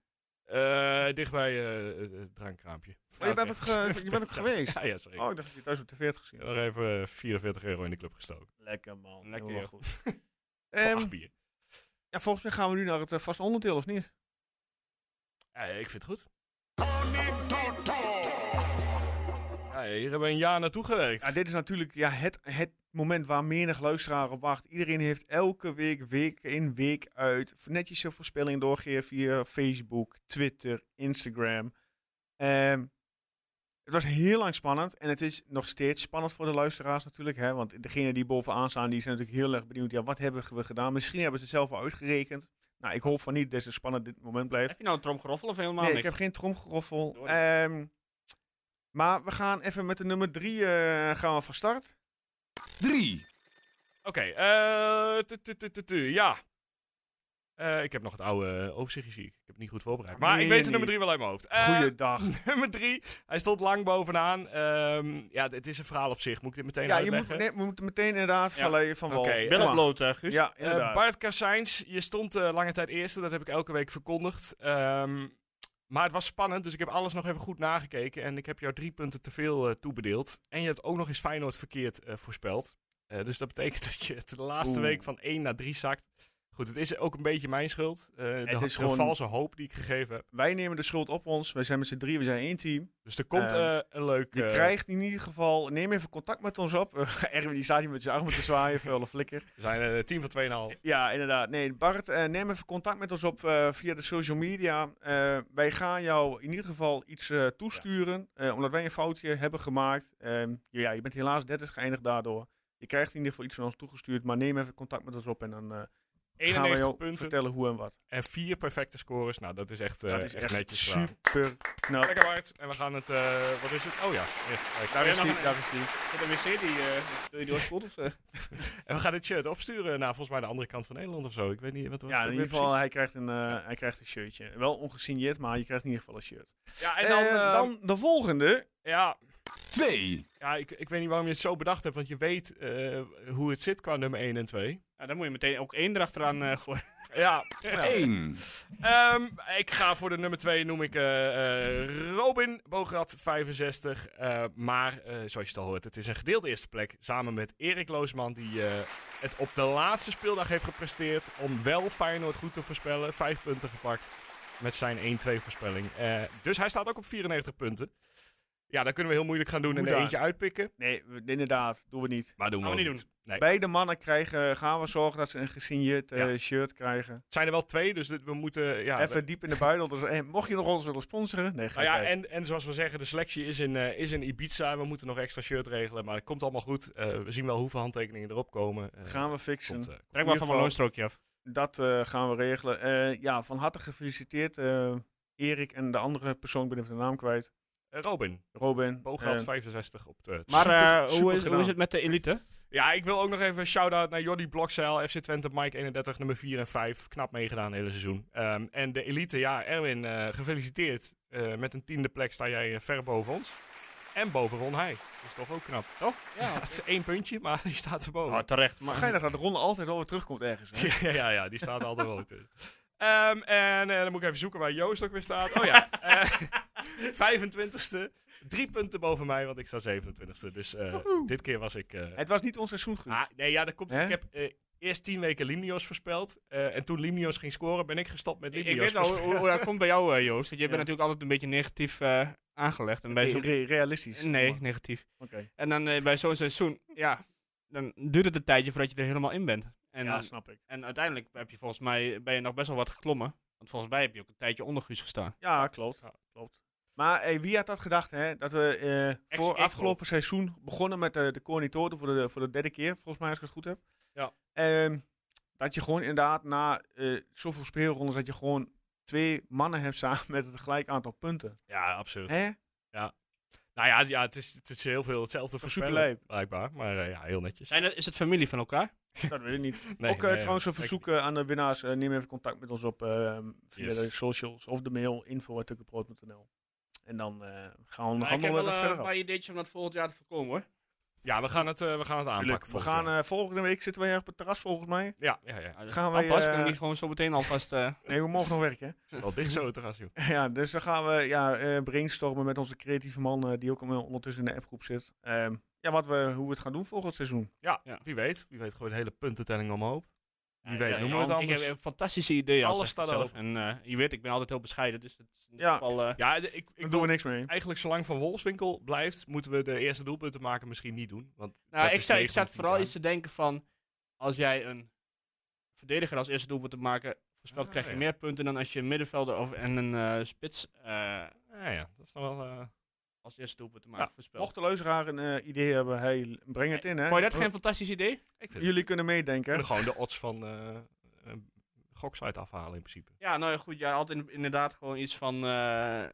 Eh, dicht bij eh, het- het drankkraampje. Oh, je bent ook ge- je bent ook geweest? ja, ja, sorry. Oh, ik dacht dat je thuis op tv had gezien. Nog even eh, 44 euro in de club gestoken. Lekker man. Lekker, Helemaal joh. goed. Voor Ehm, acht bier. ja, volgens mij gaan we nu naar het eh, vaste onderdeel, of niet? Eh, ik vind het goed. Ja, hier hebben we een jaar naartoe gewerkt. Ja, dit is natuurlijk ja, het, het moment waar menig luisteraar op wacht. Iedereen heeft elke week, week in, week uit, netjes zijn voorspelling doorgegeven via Facebook, Twitter, Instagram. Ehm, het was heel lang spannend en het is nog steeds spannend voor de luisteraars natuurlijk. Hè? Want degenen die bovenaan staan, die zijn natuurlijk heel erg benieuwd. Ja, wat hebben we gedaan? Misschien hebben ze het zelf al uitgerekend. Nou, ik hoop van niet dat het spannend dit moment blijft. Heb je nou een tromgeroffel of helemaal Nee, ik niks? heb geen tromgeroffel. Door. Ehm, maar we gaan even met de nummer drie eh, gaan we van start. 3. Oké, eh, tu- tu- tu- tu- tu, ja. Eh, ik heb nog het oude eh, overzichtje, zie ik. Ik heb het niet goed voorbereid. Maar Nee, ik weet de nee. nummer drie wel uit mijn hoofd. Eh, Goeiedag. nummer drie. Hij stond lang bovenaan. Ehm, ja, dit is een verhaal op zich. Moet ik dit meteen Ja, je moet, uitleggen? nee, we moeten meteen inderdaad Ja. van leien van wal. Oké, Kom Billen maar. bloot, eh, Guus. Ja, Eh, inderdaad. Bart Kassijns, je stond eh, lange tijd eerste. Dat heb ik elke week verkondigd. Ehm, maar het was spannend, dus ik heb alles nog even goed nagekeken. En ik heb jou drie punten te veel eh, toebedeeld. En je hebt ook nog eens Feyenoord verkeerd eh, voorspeld. Eh, dus dat betekent dat je het de laatste Oeh. week van 1 naar 3 zakt. Goed, het is ook een beetje mijn schuld. Eh, de, is de gewoon- valse hoop die ik gegeven heb. Wij nemen de schuld op ons. Wij zijn met z'n drie, we zijn één team. Dus er komt Ehm, eh, een leuk... Je eh, krijgt in ieder geval, neem even contact met ons op. Eh, Erwin die staat hier met zijn armen te zwaaien, vuile flikker. We zijn eh, een team van 2,5. Ja, inderdaad. Nee, Bart, eh, neem even contact met ons op eh, via de social media. Eh, wij gaan jou in ieder geval iets eh, toesturen, eh, omdat wij een foutje hebben gemaakt. Ehm, ja, je bent helaas 30 geëindigd daardoor. Je krijgt in ieder geval iets van ons toegestuurd, maar neem even contact met ons op en dan eh, gaan we 91 jou punten vertellen hoe en wat. en 4 perfecte scores. Nou, dat is echt, eh, dat is echt, echt netjes gedaan. super knap. Lekker Bart. En we gaan het... eh, wat is het? Oh ja. Ja, kijk, daar is die. daar is die. Ik heb een wc die... eh, wil je die ooit of eh? En we gaan dit shirt opsturen naar volgens mij de andere kant van Nederland of zo. Ik weet niet wat was Ja, het in ook ieder weer geval, hij krijgt, een, eh, hij krijgt een shirtje. Wel ongesigneerd, maar je krijgt in ieder geval een shirt. precies. Ja, en dan... Eh, eh, dan de volgende. ja, 2. ja ik, ik weet niet waarom je het zo bedacht hebt, want je weet eh, hoe het zit qua nummer 1 en 2. Ja, dan moet je meteen ook één erachteraan eh gooien. Ja, ja. 1. Ehm, ik ga voor de nummer 2 noem ik eh, eh, Robin Bograd 65. Eh, maar eh, zoals je het al hoort, het is een gedeelde eerste plek. Samen met Erik Loosman, die eh, het op de laatste speeldag heeft gepresteerd. Om wel Feyenoord goed te voorspellen. Vijf punten gepakt met zijn 1-2 voorspelling. Eh, dus hij staat ook op 94 punten. Ja, dat kunnen we heel moeilijk gaan doen en er Hoedan. eentje uitpikken. Nee, we- inderdaad, doen we niet. Maar doen we, Gaan we ook niet niet. Nee. Beide mannen krijgen, gaan we zorgen dat ze een gesigneerd eh, Ja. shirt krijgen. Het zijn er wel twee, dus dit- we moeten... Ja, Even diep in de buidel. Dus, eh, mocht je nog ons willen sponsoren? Nee, ga Nou ja, kijken. en, en zoals we zeggen, de selectie is in, eh, is in Ibiza. We moeten nog extra shirt regelen, maar het komt allemaal goed. Eh, we zien wel hoeveel handtekeningen erop komen. Eh, Gaan we fixen. komt, eh, komt. Trek maar ieder van mijn geval- loonstrookje af. Dat eh, gaan we regelen. Eh, ja, van harte gefeliciteerd eh, Erik en de andere persoon, ik ben even de naam kwijt. Eh, Robin, Robin. Boograad eh, 65 op Twitter. Maar eh, super hoe, is, hoe gedaan. is het met de elite? Ja, ik wil ook nog even een shout-out naar Jordi Blokzeil, FC Twente, Mike 31, nummer 4 en 5. Knap meegedaan het hele seizoen. Ehm, en de elite, ja, Erwin, eh, gefeliciteerd. Eh, met een tiende plek sta jij eh, ver boven ons. En boven Ron Heij. Dat is toch ook knap, toch? Ja. Het is één puntje, maar die staat erboven. Oh, terecht. Maar, Geinig dat de ronde altijd wel weer terugkomt ergens. Hè? Ja, ja, ja, die staat altijd wel tussen. Ehm, en eh, dan moet ik even zoeken waar Joost ook weer staat. Oh ja, eh, 25ste. Drie punten boven mij, want ik sta 27ste. Dus eh, dit keer was ik... eh, Het was niet ons seizoen goed. ah, nee, ja, dat komt, Hè? ik heb eh, eerst tien weken Limnios voorspeld. eh, en toen Limnios ging scoren, ben ik gestopt met ik Limnios. ik weet al hoe, voorspellen. hoe hoe dat komt bij jou, eh, Joost. Want jij Ja. bent natuurlijk altijd een beetje negatief eh, aangelegd. En bij Re- zo'n- re- realistisch. nee, negatief. Oké. En dan eh, bij zo'n seizoen, ja, dan duurt het een tijdje voordat je er helemaal in bent. En, Ja, snap ik. en uiteindelijk heb je volgens mij eh, ben je nog best wel wat geklommen. Want volgens mij heb je ook een tijdje onder Guus gestaan. Ja, klopt. Ja. klopt. Maar hey, wie had dat gedacht, hè? Dat we eh voor Ex-Echo. afgelopen seizoen begonnen met eh, de coördinatoren voor de, voor de derde keer, volgens mij als ik het goed heb. Ja. Ehm, dat je gewoon inderdaad na eh, zoveel speelrondes dat je gewoon twee mannen hebt samen met het gelijk aantal punten. Ja, absoluut. Hè? Nou ja, ja het, is, het is heel veel hetzelfde voorspellen, superlijp. blijkbaar. Maar eh, ja, heel netjes. Zijn het- is het familie van elkaar? Dat weet ik niet. Nee, Ook eh, nee, trouwens een zeker verzoek eh, aan de winnaars. eh, neem even contact met ons op eh, via Yes. de socials of de mail info.tukkenproot.nl. En dan eh, gaan we nog ik heb handelen wat eh, verder een af. paar ideetjes om dat volgend jaar te voorkomen hoor. niet. Ja, we gaan het, eh, we gaan het Tuurlijk. aanpakken. We volgens gaan mij. eh, volgende week zitten wij op het terras volgens mij. ja, ja, ja. Gaan wij, wij, Pas, eh, kunnen we niet gewoon zo meteen alvast... eh, Nee, we mogen nog werken. Wel dicht zo het terras, joh. hè? ja, dus dan gaan we ja, eh, brainstormen met onze creatieve man, eh, die ook on- ondertussen in de appgroep zit. Ehm, ja, wat we, hoe we het gaan doen volgend seizoen. Ja, Ja. wie weet. Wie weet gewoon de hele puntentelling omhoog. Wie Ja, weet ja, noemen we ja, het Ik anders. heb eh, fantastische ideeën. Alles altijd staat zelf. open. En eh, je weet, ik ben altijd heel bescheiden, dus dat is in dit Ja. geval... eh, Ja, de- Daar ik, ik doen wil we niks mee. eigenlijk zolang Van Wolfswinkel blijft, moeten we de eerste doelpunten maken misschien niet doen. Want Nou, dat ik, is zat, ik 9 van zat vooral 10 eens te denken van, als jij een verdediger als eerste doelpunt te maken voorspelt, Ah, krijg je ja. meer punten dan als je een middenvelder of, en een eh, spits eh, Ja, ja, dat is nog wel... eh, als eerste doelpunt te maken Ja, voorspelt. Mocht de luisteraar een eh, idee hebben, hey, breng het in. Hè? Vond je dat geen fantastisch idee? ik vind Jullie kunnen meedenken. kunnen gewoon de odds van eh eh, goksite afhalen in principe. Ja, nou ja, goed, ja, altijd in- inderdaad gewoon iets van, eh,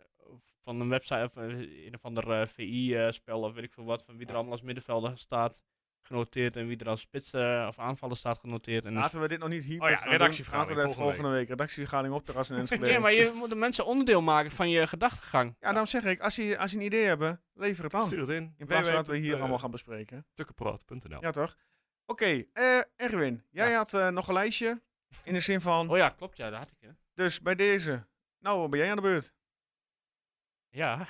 van een website of eh, een of ander VI-spel of weet ik veel wat, van wie er allemaal als middenvelder staat genoteerd en wie er als spits eh, of aanvaller staat genoteerd. En dan Laten we dit nog niet hier. Oh ja, gaan doen. redactievergadering Laten we dat volgende volgende week. Redactievergadering op terras in Enschede. Nee, maar je moet de mensen onderdeel maken van je gedachtegang. Ja, daarom zeg ik, als je, als je een idee hebben, lever het aan. Stuur het in. eh, In plaats van dat we www.tukkenproot.nl. hier allemaal gaan bespreken. tukkenproot.nl. Ja, toch? Oké, eh, Erwin, jij had eh, nog een lijstje. In de zin van, Oh ja, klopt, ja, dat had ik, hè. dus bij deze. Nou, ben jij aan de beurt? Ja.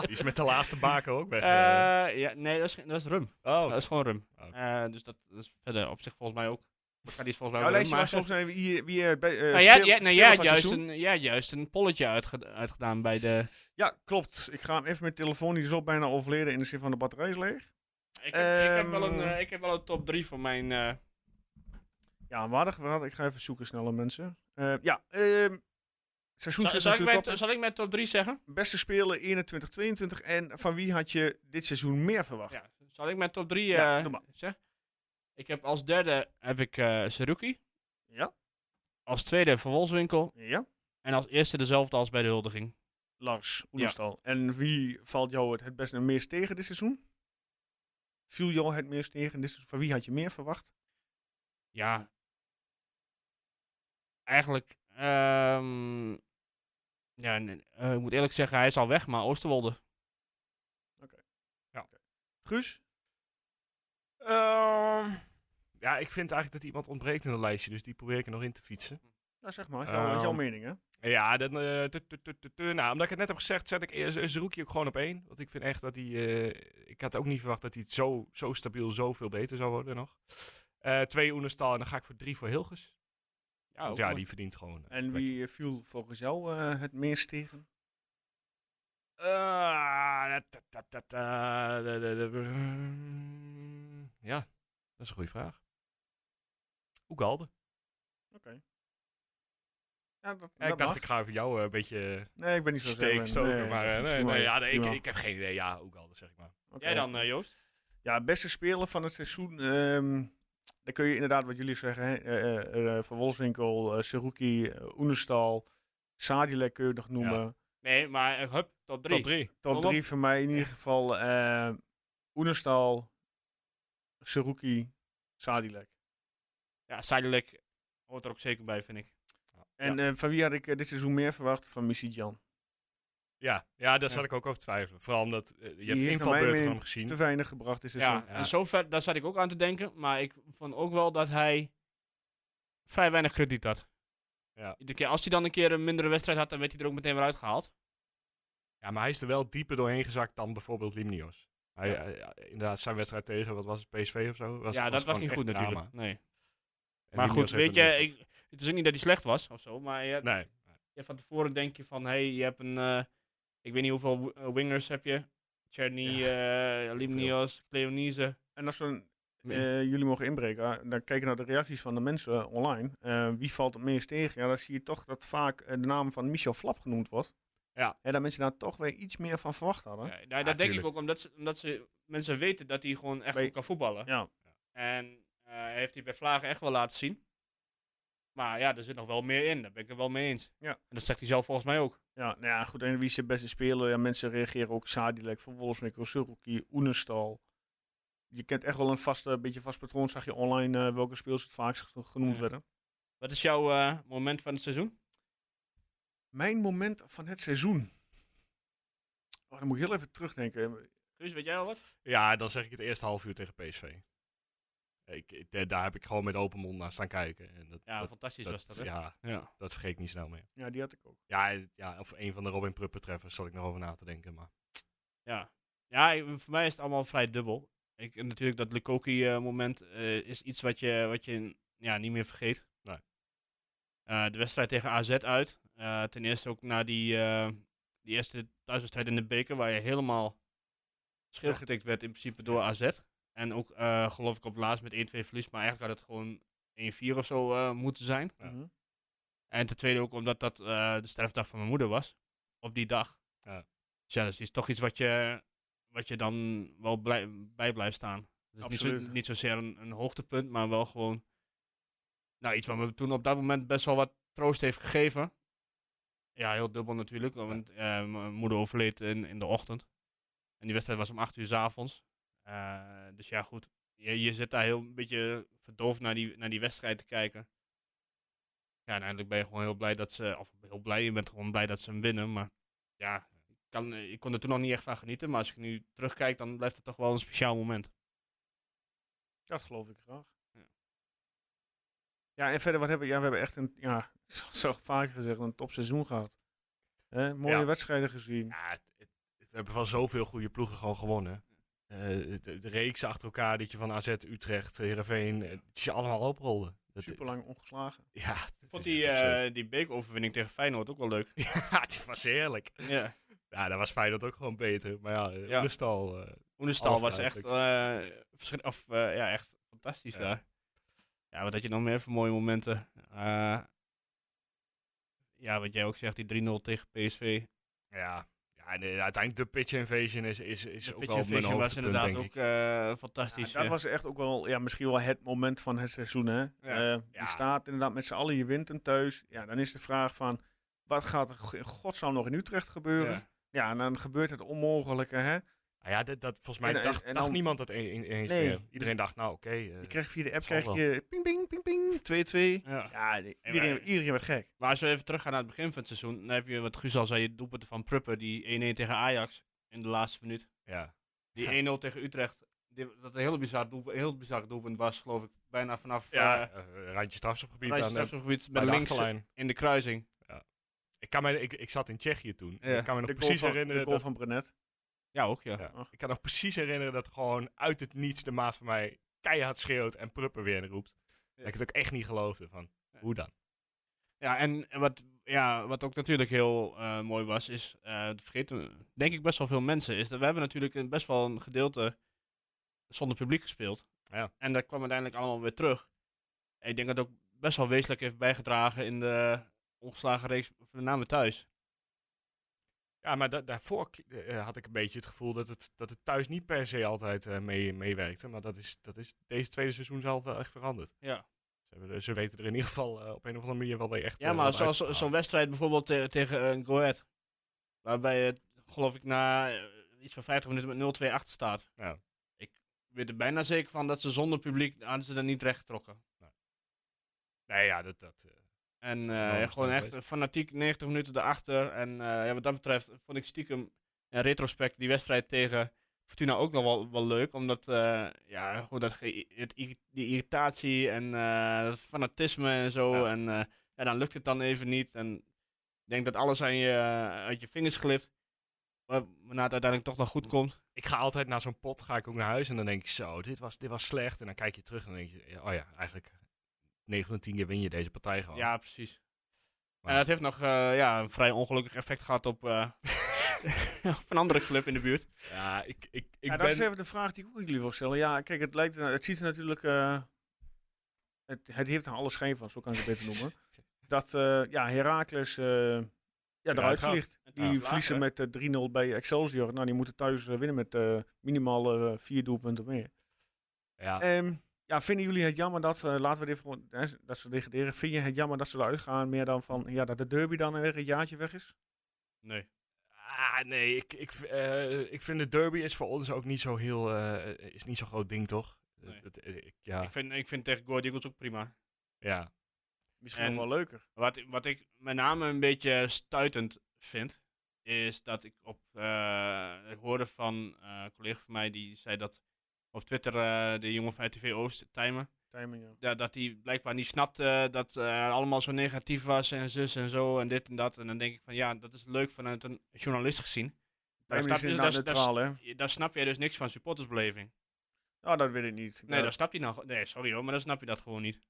Die is met de laatste baken ook weg. eh. Eh, ja, nee, dat is, geen- dat is rum. oh, Dat is gewoon rum. Oké. Eh, dus dat, dat is verder op zich volgens mij ook. Maar die is volgens Jouw mij wel rum, lijstje maar... was volgens mij wie, wie eh, bij, eh, Nou, jij, speel- jij, nee, speler jij, van het had juist seizoen. een, jij had juist een polletje uitge- uitgedaan bij de... Ja, klopt. Ik ga hem even met telefoon, die is al bijna overleden in de zin van de batterij is leeg. Ik heb- ik heb wel een, eh, ik heb wel een top 3 voor mijn... eh, Ja, waardig gehad. Ik ga even zoeken, snelle mensen. Eh, ja, ehm seizoen zit zal, ik natuurlijk mijn, op. zal ik mijn top 3 zeggen? Beste speler 21-22 en van wie had je dit seizoen meer verwacht? Ja. Zal ik mijn top 3 Ja, eh, doe maar. zeggen? Ik heb als derde heb ik eh Seruki. Ja. Als tweede Van Wolfswinkel. Ja, En als eerste dezelfde als bij de huldiging. Lars Oenestal. En wie valt jou het, het best en meest tegen dit seizoen? Viel jou het meest tegen? Dit seizoen? Van wie had je meer verwacht? ja, eigenlijk, ehm, ja, nee, eh, ik moet eerlijk zeggen, hij is al weg, maar Oosterwolde. Guus? ehm, eh, ja, ik vind eigenlijk dat iemand ontbreekt in het lijstje, dus die probeer ik er nog in te fietsen. Ja, Nou, zeg maar. is jouw- is jouw Ehm, mening, hè? Ja, dan, eh, tu- tu- tu- tu- tu. nou, omdat ik het net heb gezegd, zet ik eh, Z- Zerouki ook gewoon op één. Want ik vind echt dat hij... eh, ik had ook niet verwacht dat hij het zo, zo stabiel zoveel beter zou worden nog. Eh, twee Oenestal en dan ga ik voor drie voor Hilgers. Ja, Want ja, die verdient gewoon... eh, Oh, En plek. wie eh, viel volgens jou eh, het meest tegen? Ah, Eh, ta- ta- ta- ta- de- de- de- mm, Ja, dat is een goede vraag. Oegalde. Ja, dat, Ja, dat ik dacht, mag. ik ga even jou eh, een beetje Nee, ik ben niet zo steek zeker. stoken. maar eh, nee, nee, ja, nee, ik, prima. ik heb geen idee. Ja, Oegalde zeg ik maar. Oké. Jij dan, eh, Joost? Ja, beste speler van het seizoen. ehm dan kun je inderdaad wat jullie zeggen. Hè? eh, eh, eh, van Wolfswinkel, eh Seruki, eh, Oenestal. Sadilek kun je nog noemen. Nee, maar eh, hup, top 3. Top 3. Top Klopt. 3 voor mij in ieder geval eh Oenerstal, Seruki, Sadilek. Ja, Sadilek hoort er ook zeker bij, vind ik. En eh, van wie had ik eh, dit seizoen meer verwacht? Van Jan. Ja, ja daar Ja. zat ik ook over te twijfelen. Vooral omdat eh, je hebt heeft naar invalbeurten mij van hem mee gezien. Te weinig gebracht dit seizoen. Ja, Ja, ja. en zover, daar zat ik ook aan te denken. Maar ik vond ook wel dat hij vrij weinig krediet had. Ja. Iedere keer, als hij dan een keer een mindere wedstrijd had, dan werd hij er ook meteen weer uitgehaald. Ja, maar hij is er wel dieper doorheen gezakt dan bijvoorbeeld Limnios. Hij, eh, ja, inderdaad, zijn wedstrijd tegen, wat was het, PSV of zo? Was, ja, dat was gewoon niet echt goed drama. natuurlijk. Nee. En Maar Limnios goed, heeft weet het je, niet ik, het is ook niet dat hij slecht was of zo. Maar je, goed. Nee, je- van tevoren denk je van, hé, hey, je hebt een, eh, ik weet niet hoeveel wi- eh, wingers heb je. Cherny, eh Limnios, Cleonise. En als we Nee. eh, jullie mogen inbreken, ah, dan kijken naar de reacties van de mensen eh, online. Eh, wie valt het meest tegen? Ja, dan zie je toch dat vaak eh, de naam van Michel Flap genoemd wordt. Ja. En dat mensen daar toch weer iets meer van verwacht hadden. Ja, nou, dat denk ik tuurlijk. ook omdat, ze, omdat ze, mensen weten dat hij gewoon echt Bij- goed kan voetballen. Ja. En eh, hij heeft hij bij Vlagen echt wel laten zien. Maar ja, er zit nog wel meer in. Daar ben ik het wel mee eens. Ja. En dat zegt hij zelf volgens mij ook. Ja, nou ja, goed. En wie is de beste speler? Ja, mensen reageren ook Sadilek van Wolfswinkel, Suruki, Oenestal. Je kent echt wel een vast, eh, beetje vast patroon, zag je online eh, welke speels het vaakst geno- genoemd Ja. werden. Wat is jouw eh, moment van het seizoen? Mijn moment van het seizoen. Oh, dan moet ik heel even terugdenken. Guus, weet jij al wat? ja, dan zeg ik het eerste half uur tegen PSV. Ik, ik- daar- daar heb ik gewoon met open mond naar staan kijken. En dat, Ja, dat, fantastisch dat- was dat, hè? ja, Ja. dat vergeet ik niet snel meer. Ja, die had ik ook. Ja, eh, ja of een van de Robin Pruppen treffers zal ik nog over na te denken. Maar Ja, ja ik- voor mij is het allemaal vrij dubbel. Ik, en natuurlijk dat Lukoki-moment eh, is iets wat je, wat je n- ja, niet meer vergeet. Nee. Eh, de wedstrijd tegen AZ uit. Eh, ten eerste ook na die, eh, die eerste thuiswedstrijd in de beker, waar je helemaal schil getikt werd in principe door AZ. En ook eh, geloof ik op het laatst met 1-2 verlies, maar eigenlijk had het gewoon 1-4 of zo eh, moeten zijn. Ja. Mhm. En ten tweede ook omdat dat eh, de sterfdag van mijn moeder was. Op die dag. Ja. Dus ja, dat is iets- toch iets wat je, wat je dan wel blij, bij blijft staan. Dus niet, zo, Absoluut. niet zozeer een, een hoogtepunt, maar wel gewoon nou, iets wat me toen op dat moment best wel wat troost heeft gegeven. Ja, heel dubbel natuurlijk, want eh, mijn moeder overleed in, in de ochtend. En die wedstrijd was om 8 uur 's avonds. Eh, dus ja, goed. Je, je zit daar heel een beetje verdoofd naar die, naar die wedstrijd te kijken. Ja, en eindelijk ben je gewoon heel blij dat ze, of heel blij, je bent gewoon blij dat ze hem winnen. Maar ja, ik, kan, eh, ik kon er toen nog niet echt van genieten. Maar als ik nu terugkijk, dan blijft het toch wel een speciaal moment. Dat geloof ik graag. Ja. Ja, en verder, wat hebben we? Ja, we hebben echt een, ja, zo vaak gezegd, een topseizoen gehad. Hè, mooie Ja. wedstrijden gezien. ja, het- het- we hebben van zoveel goede ploegen gewoon gewonnen. Eh, de, de reeks achter elkaar, dat je van AZ, Utrecht, Heerenveen, eh, dat je allemaal oprolde. Dat- Super lang ongeslagen. Ja, Ik dat vond is die, echt absurd. eh die beekoverwinning tegen Feyenoord ook wel leuk. ja, die was heerlijk. Ja. Ja, daar was Feyenoord ook gewoon beter. Maar ja, eh, Ja. Oenestal, eh, Oenestal Alles was echt, duidelijk. eh, verschri- of, eh, ja, echt fantastisch Ja. daar. Ja, wat had je nog meer voor mooie momenten? Eh, ja, wat jij ook zegt, die 3-0 tegen PSV. ja. ja en, eh, uiteindelijk de pitch invasion is, is, is De ook pitch wel mijn invasion was hoogtepunt, inderdaad denk ik. ook eh, Ja, fantastisch. dat ja. was echt ook wel ja, misschien wel het moment van het seizoen. Hè? Eh, Ja. Je staat inderdaad met z'n allen, je wint hem thuis. Ja, dan is de vraag van, wat gaat er go- in godsnaam nog in Utrecht gebeuren? Ja, Ja. en dan gebeurt het onmogelijke. Hè? Ah ja, dat, dat, volgens mij En- en- dacht, en dacht dan- niemand dat e- e- eens Nee. meer. Iedereen dacht, nou oké. eh, Je krijgt via de app zal krijg wel. je ping, ping, ping, ping, 2-2. Ja. Ja, die- iedereen, iedereen werd gek. Maar als we even teruggaan naar het begin van het seizoen, dan heb je wat Guus al zei, je doelpunten van Pruppen, die 1-1 tegen Ajax in de laatste minuut. ja. Die 1-0 tegen Utrecht, die- dat een heel bizar, doelpunt, heel bizar doelpunt was, geloof ik, bijna vanaf ja. ja, eh, randje strafschopgebied aan de, strafschopgebied bij met de links achterlijn. in de kruising. Ik, kan me, ik, ik zat in Tsjechië toen. Ja. Ik kan me nog De precies goal van, de herinneren. goal Dat, van Brenet. Ja, ook ja. ja. Ach. Ik kan nog precies herinneren dat gewoon uit het niets de maat van mij keihard schreeuwt en Pruppen weer roept. Dat ik het ook echt niet geloofde. Van, Ja. Hoe dan? Ja, en en wat, ja, wat ook natuurlijk heel eh, mooi was, is, eh dat vergeten denk ik best wel veel mensen, is dat we hebben natuurlijk een- best wel een gedeelte zonder publiek gespeeld. Ja. En dat kwam uiteindelijk allemaal weer terug. En ik denk dat het ook best wel wezenlijk heeft bijgedragen in de ongeslagen reeks, met name thuis. Ja, maar da- daarvoor kli- eh, had ik een beetje het gevoel dat het, dat het thuis niet per se altijd eh, mee, meewerkte. Maar dat is, dat is deze tweede seizoen zelf wel echt veranderd. Ja. Ze, hebben er- ze weten er in ieder geval eh, op een of andere manier wel bij echt. Ja, eh, maar wat uit zoals te zo- halen. zo'n wedstrijd bijvoorbeeld tegen, tegen eh, Go Ahead, Waarbij het, geloof ik, na eh, iets van 50 minuten met 0-2 achter staat. Ja. Ik weet er bijna zeker van dat ze zonder publiek hadden ze dat niet recht getrokken. Nee, ja, dat. dat eh, En eh, enorme gewoon stand echt geweest. fanatiek 90 minuten erachter. En eh, ja, wat dat betreft vond ik stiekem in retrospect die wedstrijd tegen Fortuna ook nog wel, wel leuk. Omdat eh, ja, gewoon dat ge- het, irri- die irritatie en eh dat fanatisme en zo. Ja. En eh, ja, dan lukt het dan even niet. En ik denk dat alles aan je, eh, uit je vingers glipt. wa- Waarna het uiteindelijk toch nog goed komt. ik ga altijd naar zo'n pot, ga ik ook naar huis en dan denk ik zo, dit was, dit was slecht. En dan kijk je terug en dan denk je, oh ja, eigenlijk 9 van de 10 keer win je deze partij gewoon. Ja, precies. oh. Maar- En dat heeft nog eh, ja, een vrij ongelukkig effect gehad op, eh, op een andere club in de buurt. Ja, ik, ik, ik ja, dat ben... is even de vraag die ik ook jullie wil stellen. Ja, kijk, het, lijkt, er- het ziet er natuurlijk... eh, het, het heeft er alle schijn van, zo kan ik het beter noemen. Dat eh, ja, Heracles eh, ja, eruit gaat. vliegt. En Die lager, verliezen hè? met eh, 3-0 bij Excelsior. Nou, die moeten thuis eh, winnen met eh, minimaal eh, vier doelpunten meer. ja, Ehm, ja, vinden jullie het jammer dat, ze- laten we dit gewoon, hè, dat ze degraderen, vind je het jammer dat ze eruit gaan, meer dan van, ja, dat de derby dan weer een jaartje weg is? Nee. ah, nee, ik, ik, eh, ik vind de derby is voor ons ook niet zo heel, eh, is niet zo'n groot ding, toch? Nee. Het- het- ik- ja, Ik vind, ik vind tegen Go Ahead Eagles ook prima. ja, Misschien En- nog wel leuker. Wat, wat ik met name een beetje stuitend vind, is dat ik op. eh, ik hoorde van eh, een collega van mij die zei dat op Twitter eh, de jongen van RTV Oost, Timer, Timing, ja. ja, dat hij blijkbaar niet snapte dat eh, allemaal zo negatief was en zus en zo en dit en dat. En dan denk ik van ja, dat is leuk vanuit een journalist gezien. Maar Timing dat is snap, dus, inderdaad daar, neutraal, hè? daar snap jij dus niks van supportersbeleving. Nou, dat weet ik niet. Nee, Ja, dat snap je nou. Nee, sorry hoor, maar dan snap je dat gewoon niet.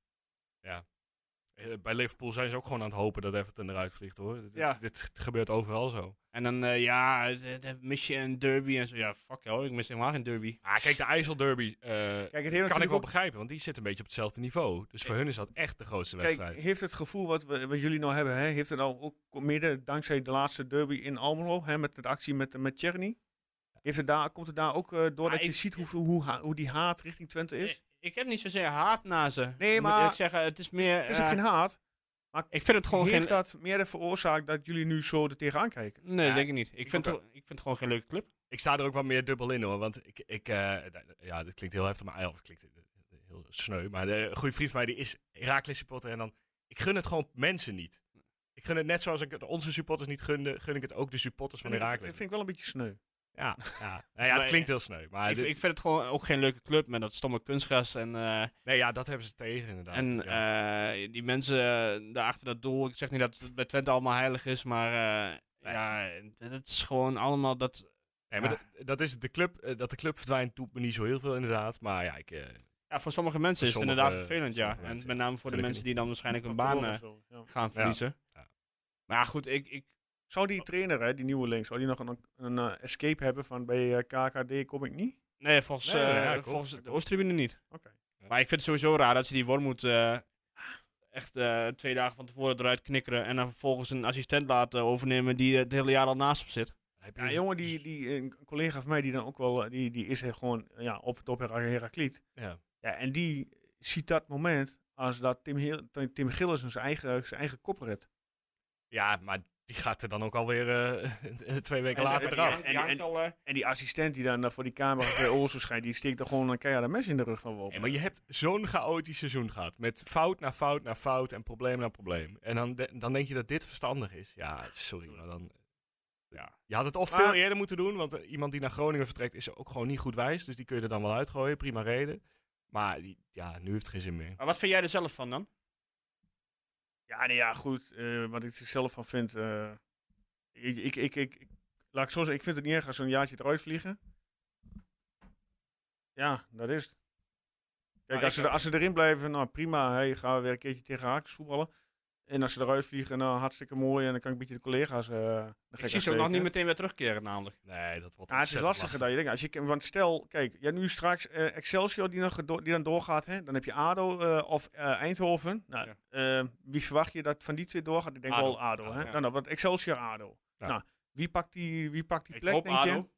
Eh, bij Liverpool zijn ze ook gewoon aan het hopen dat Everton eruit vliegt, hoor. Dit- Ja. Dit gebeurt overal zo. En dan, eh, ja, eh, dan mis je een derby en zo. Ja, fuck joh, ik mis helemaal geen derby. Ah, kijk, de IJsselderby eh Kijk, het heeft kan ik wel natuurlijk begrijpen, want die zit een beetje op hetzelfde niveau. Dus voor hun is dat echt de grootste ook- wedstrijd. Kijk, heeft het gevoel wat, we, wat jullie nou hebben, hè, heeft het nou ook mede dankzij de laatste derby in Almelo, hè, met de actie met, met Tjerni? Heeft het daar, komt het daar ook eh, door Ah, dat je ik- ziet hoe, hoe, ha- hoe die haat richting Twente is? Ik, ik heb niet zozeer haat naar ze. Dus? Nee, Ik maar- Moet ik zeggen, het is meer... Het is ook eh, geen haat. ik vind het gewoon heeft geen... dat meer veroorzaakt dat jullie nu zo er tegenaan kijken? Nee, Ja, denk ik niet. Ik vind, ook- het, ik vind het gewoon geen leuke club. Ik sta er ook wat meer dubbel in hoor. Want ik, ik eh, d- ja, dit klinkt heel heftig, maar of het klinkt eh, heel sneu. Maar de goede vriend van mij die is Heracles supporter. En dan, ik gun het gewoon mensen niet. Ik gun het net zoals ik het onze supporters niet gunde, gun ik het ook de supporters van Dat vind- Heracles. dat vind ik wel een beetje sneu. Ja, ja. Nou ja, het Maar, klinkt heel sneu. Maar ik, dit- ik vind het gewoon ook geen leuke club met dat stomme kunstgras. En, eh, nee, ja, dat hebben ze tegen inderdaad. en Dus ja. eh, die mensen eh, daar achter dat doel. Ik zeg niet dat het bij Twente allemaal heilig is, maar... eh, Nee. Ja, het is gewoon allemaal dat... nee, maar ja. dat- dat is de club. eh, dat de club verdwijnt doet me niet zo heel veel inderdaad. Maar ja, ik, eh, Ja, voor sommige mensen Voor is het sommige- inderdaad vervelend, ja. sommige En mensen, met name voor de Gelukkig mensen die dan waarschijnlijk hun baan Controle eh, of zo, ja. gaan verliezen. Ja. Maar goed, ik, ik, Zou die trainer, hè, die nieuwe link, zou die nog een, een eh, escape hebben van bij eh, KKD kom ik niet? Nee, volgens, Nee, nee, eh, ja, klopt, volgens ja, de klopt. Oosttribune niet. Oké. Ja. Maar ik vind het sowieso raar dat ze die Wormoed eh echt eh, twee dagen van tevoren eruit knikkeren. En dan vervolgens een assistent laten overnemen die eh, het hele jaar al naast hem zit. heb je Ja, dus- jongen, die, die, een collega van mij die dan ook wel, eh, die, die is er gewoon ja, op het top Herakliet. Ja. Ja, en die ziet dat moment als dat Tim, Heel, Tim Gillis zijn eigen, zijn eigen kop redt. ja, maar die gaat er dan ook alweer eh, twee weken En- later en- eraf. en- En die assistent die dan eh, voor die camera bij Olsen schijnt, die steekt er gewoon een keiharde mes in de rug van Wop. Ja, maar je hebt zo'n chaotisch seizoen gehad. Met fout na fout na fout en probleem na probleem. En dan, de- dan denk je dat dit verstandig is. Ja, sorry, maar dan... Ja. Je had het of Maar- veel eerder moeten doen, want eh, iemand die naar Groningen vertrekt is ook gewoon niet goed wijs. Dus die kun je er dan wel uitgooien, prima reden. Maar die, ja, nu heeft het geen zin meer. Maar wat vind jij er zelf van dan? Ja, nee, ja, goed. eh, wat ik er zelf van vind. eh, ik, ik, ik, ik, ik- laat ik zo zeggen, ik vind het niet erg als ze een jaartje eruit vliegen. Ja, dat is het. Kijk, ik als, ze, ook. er- als ze erin blijven, nou prima. Hey, gaan we weer een keertje tegen haakjes voetballen. En als ze eruit vliegen, nou hartstikke mooi. En dan kan ik een beetje de collega's. eh de gek Ik zie ze ook nog afsteken. niet meteen weer terugkeren namelijk. Nee, dat wordt Ah, het is ontzettend lastiger lastig. dan je denkt. Als je, want stel, kijk, je hebt nu straks eh, Excelsior die, nog gedo- die dan doorgaat. Hè? Dan heb je ADO eh, of eh, Eindhoven. Nou, eh, wie verwacht je dat van die twee doorgaat? Ik denk ADO. wel ADO. hè? Nou, Ja. Dan, dan wordt Excelsior ADO. Ja. Nou, wie pakt die, wie pakt die Ik plek, hoop denk je? ADO.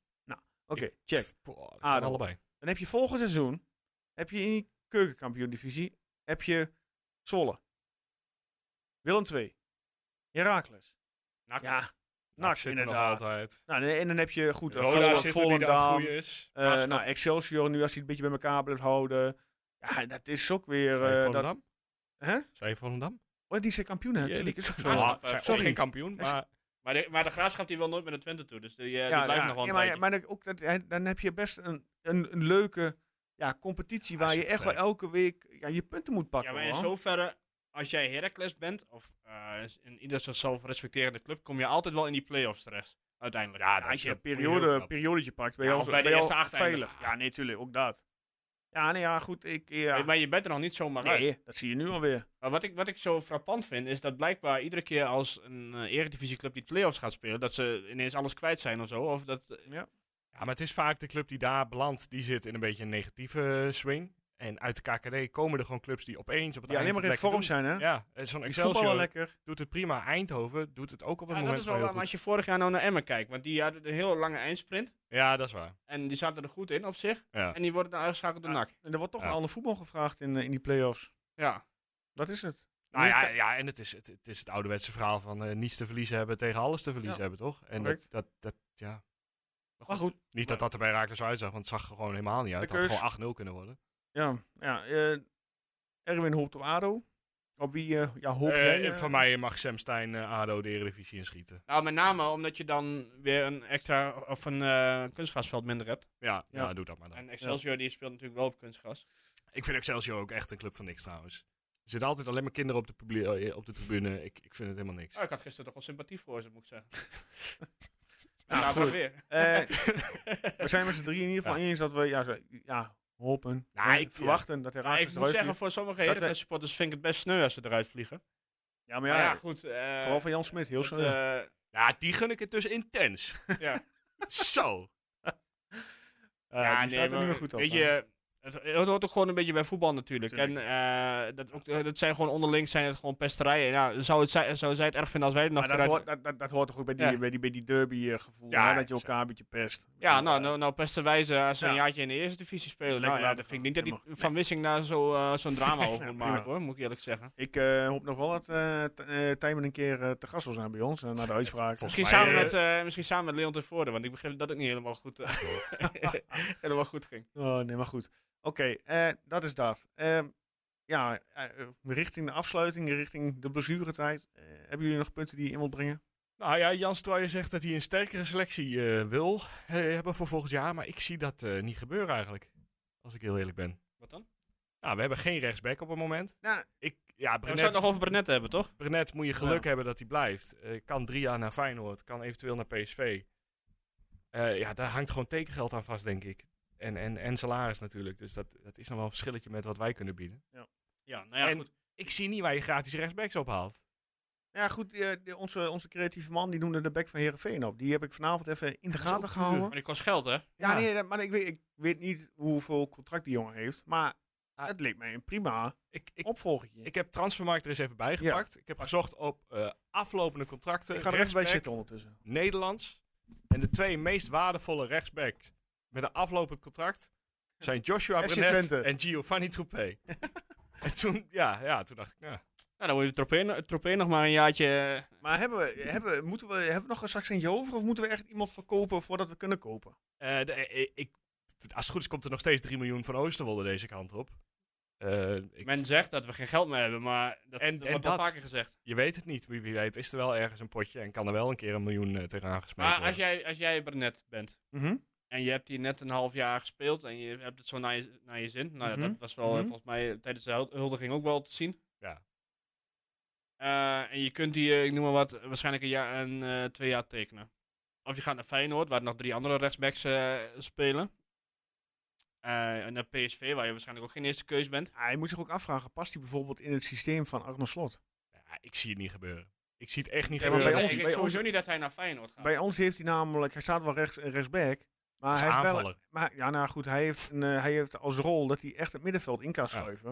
Oké, check. Boah, dat kan Adem. allebei. Dan heb je volgend seizoen, heb je in die keukenkampioen-divisie, heb je Zwolle. Willem II. Heracles. Nak, Ja, Nak NAC zit er nog inderdaad. altijd. Nou, en, en dan heb je goed... eh, Roda Vol- zit er die aan het Volendam, groeien is. eh, nou, Excelsior nu als hij het een beetje bij elkaar blijft houden. Ja, dat is ook weer... Zij eh, dat- Volendam? Hè? Zij Volendam? Oh, die zijn kampioen, hè? Ja, Natuurlijk, die- is ook zo. Ah, Ja, eh, zij ook sorry. geen kampioen, maar Maar de, maar de graafschap die wil nooit met de Twente toe, dus die, eh, Ja, die blijft ja, nog wel ja, een maar, tijdje. maar dat ook, dat, hè, dan heb je best een, een, een leuke ja, competitie Ja, waar je echt wel supersterk. elke week ja, je punten moet pakken. Ja, maar in hoor. zoverre, als jij Heracles bent, of eh, in ieder zichzelf respecterende club, kom je altijd wel in die play-offs terecht, uiteindelijk. Ja, Ja, als je dat een moet je heel periode, knap. periodetje pakt, ben je Ja, al of zo- bij de ben je al eerste acht veilig. eindigen. Ja, nee, tuurlijk, ook dat. Ja, nee, ja, goed, ik... Ja. Maar- Maar je bent er nog niet zomaar uit. Nee, dat zie je nu alweer. Maar wat ik, wat ik zo frappant vind, is dat blijkbaar iedere keer als een eh, eredivisieclub die play-offs gaat spelen, dat ze ineens alles kwijt zijn of zo. Of dat, Ja, maar het is vaak de club die daar belandt, die zit in een beetje een negatieve eh, swing. En uit de KKD komen er gewoon clubs die opeens op het Ja, alleen eind maar in het lekker vorm doen. zijn, hè? Ja, Die eh, zo'n voetballen Excelsior lekker. doet het prima. Eindhoven doet het ook op het ja, dat moment is wel heel waar. Maar goed. als je vorig jaar nou naar Emmen kijkt, want die hadden een hele lange eindsprint. Ja, dat is waar. En die zaten er goed in op zich. Ja. En die worden dan uitgeschakeld door Ja. NAC. En er wordt toch Ja. een ander voetbal gevraagd in, eh, in die play-offs. Ja. Dat is het. Nou Nu ja, kan- ja en het is het, het is het ouderwetse verhaal van eh, niets te verliezen hebben tegen alles te verliezen Ja, hebben, toch? En dat, correct. dat, dat, ja. Maar goed, Niet dat dat er bij Raakles zo uitzag, want het zag er gewoon helemaal niet uit. De Het had keus. gewoon 8-0 kunnen worden. ja. ja eh, Erwin hoopt op ADO. Op wie eh, ja, hoop Eh, jij? en eh? van mij mag Sam Stein eh, ADO de Eredivisie inschieten. Nou, met name omdat je dan weer een extra of een eh kunstgrasveld minder hebt. Ja, ja. Ja. doe dat maar dan. En Excelsior die speelt natuurlijk wel op kunstgras. Ik vind Excelsior ook echt een club van niks trouwens. Er zitten altijd alleen maar kinderen op de, publie- eh, op de tribune. Ik, ik vind het helemaal niks. Oh, ik had gisteren toch wel sympathie voor ze, moet ik zeggen. Nou, nou, goed. weer. Eh, we zijn met z'n drieën in ieder geval eens dat we ja, zo- ja, hopen. Nou, eh, ik- verwachten dat Maar Herakles ik moet zeggen, voor sommige wij- Heracles supporters vind ik het best sneu als ze eruit vliegen. Ja, maar Maar nou ja, ja, goed. eh, vooral van Jan Smit. Heel dat, snel. eh, Ja, die gun ik het dus intens. Ja. Zo. Eh, die staat er nu weer goed op. weet hè. je, het, het hoort ook gewoon een beetje bij voetbal natuurlijk. En Tuurlijk. eh, dat, ook, dat zijn gewoon onderling zijn het gewoon pesterijen. Nou, zou, het, zij- zou zij het erg vinden als wij het nog Maar dat, vooruit... hoort, dat, dat, dat hoort toch ook bij die, Ja. bij die, bij die derby eh, gevoel. Ja, hè, dat je zo. elkaar een beetje eh, pest. Ja, nou, nou, nou pesten wij ze als ze een Ja. jaartje in de eerste divisie spelen. Lekker Nou ja, laten dat vind ik gaan. niet dat die Dat mag. van Wissing daar zo, eh, zo'n drama over moet prima. maken hoor, moet ik eerlijk zeggen. Ik eh, hoop nog wel dat eh T- eh, Tijmen een keer eh, te gast wil zijn bij ons. eh, naar de uitspraak. Volgens Misschien, mij, samen eh, met, eh, misschien samen met Leon tevoren, want ik begreep dat het niet helemaal goed, eh, helemaal goed ging. Oh, nee, maar goed. Oké, eh, dat is dat. Ehm, ja, eh, eh, richting de afsluiting, richting de blessuretijd. eh, hebben jullie nog punten die je in wilt brengen? Nou ja, Jan Strooijer zegt dat hij een sterkere selectie eh, wil eh, hebben voor volgend jaar. Maar ik zie dat eh, niet gebeuren eigenlijk. Als ik heel eerlijk ben. Wat dan? Nou, we hebben geen rechtsback op het moment. Nou, Ik, ja, We zouden het Brenet, nog over Brenet hebben, toch? Brenet moet je geluk Ja. hebben dat hij blijft. Eh, kan drie jaar naar Feyenoord, kan eventueel naar PSV. Eh, ja, daar hangt gewoon tekengeld aan vast, denk ik. En, en, en salaris natuurlijk. Dus dat, dat is nog wel een verschilletje met wat wij kunnen bieden. Ja, nou ja, En- goed. Ik zie niet waar je gratis rechtsbacks ophaalt. ja, goed, eh, de- onze, onze creatieve man die noemde de back van Herenveen op. Die heb ik vanavond even in de Dat is ook gaten duur. gehouden. Maar die kost geld, hè? Nou, Ja, Ja. nee, dat- maar ik weet, ik weet niet hoeveel contract die jongen heeft. Maar het leek mij een prima Ah. Ik, ik, opvolgertje. Ik, ik heb Transfermarkt er eens even bij gepakt. Ik heb gezocht op eh, aflopende contracten. ga er even bij rechtsback, zitten ondertussen. Nederlands. En de twee meest waardevolle rechtsbacks met een aflopend contract zijn Joshua FC Brenet Twente. en Giovanni Troepé. en toen, ja, ja, toen dacht ik, nou, Nou, dan moet je Tropeen, Tropeen nog maar een jaartje... eh, Maar hebben we, hebben, we- moeten we, hebben we nog een zakcentje over? Of moeten we echt iemand verkopen voordat we kunnen kopen? eh, de- eh, eh, ik, als het goed is komt er nog steeds 3 miljoen van Oosterwolde deze kant op. Eh, ik- Men zegt dat we geen geld meer hebben, maar dat, En- dat en wordt al dat. vaker gezegd. je weet het niet, wie, wie weet is er wel ergens een potje en kan er wel een keer een miljoen eh, tegenaan gesmeten Maar worden. als jij, als jij Brenet bent, Mhm. En je hebt hier net een half jaar gespeeld en je hebt het zo naar je, naar je zin. Nou Mhm. ja, dat was wel eh, Mhm. volgens mij tijdens de hul- huldiging ook wel te zien. Ja. Eh, en je kunt hier, ik noem maar wat, waarschijnlijk een jaar, een, eh, twee jaar tekenen. Of je gaat naar Feyenoord, waar nog drie andere rechtsbacks eh, spelen. Eh, en naar PSV, waar je waarschijnlijk ook geen eerste keus bent. Hij moet zich ook afvragen, past hij bijvoorbeeld in het systeem van Arno Slot? Ja, ik zie het niet gebeuren. Ik zie het echt niet Ja, maar maar gebeuren. bij ik- ons- ik, bij sowieso ons- niet dat hij naar Feyenoord gaat. Bij ons heeft hij namelijk, hij staat wel rechts, rechtsback. Maar Hij hij is heeft wel- aanvaller. maar, ja, nou goed, hij heeft, een, eh, hij heeft als rol dat hij echt het middenveld in kan Ja. schuiven.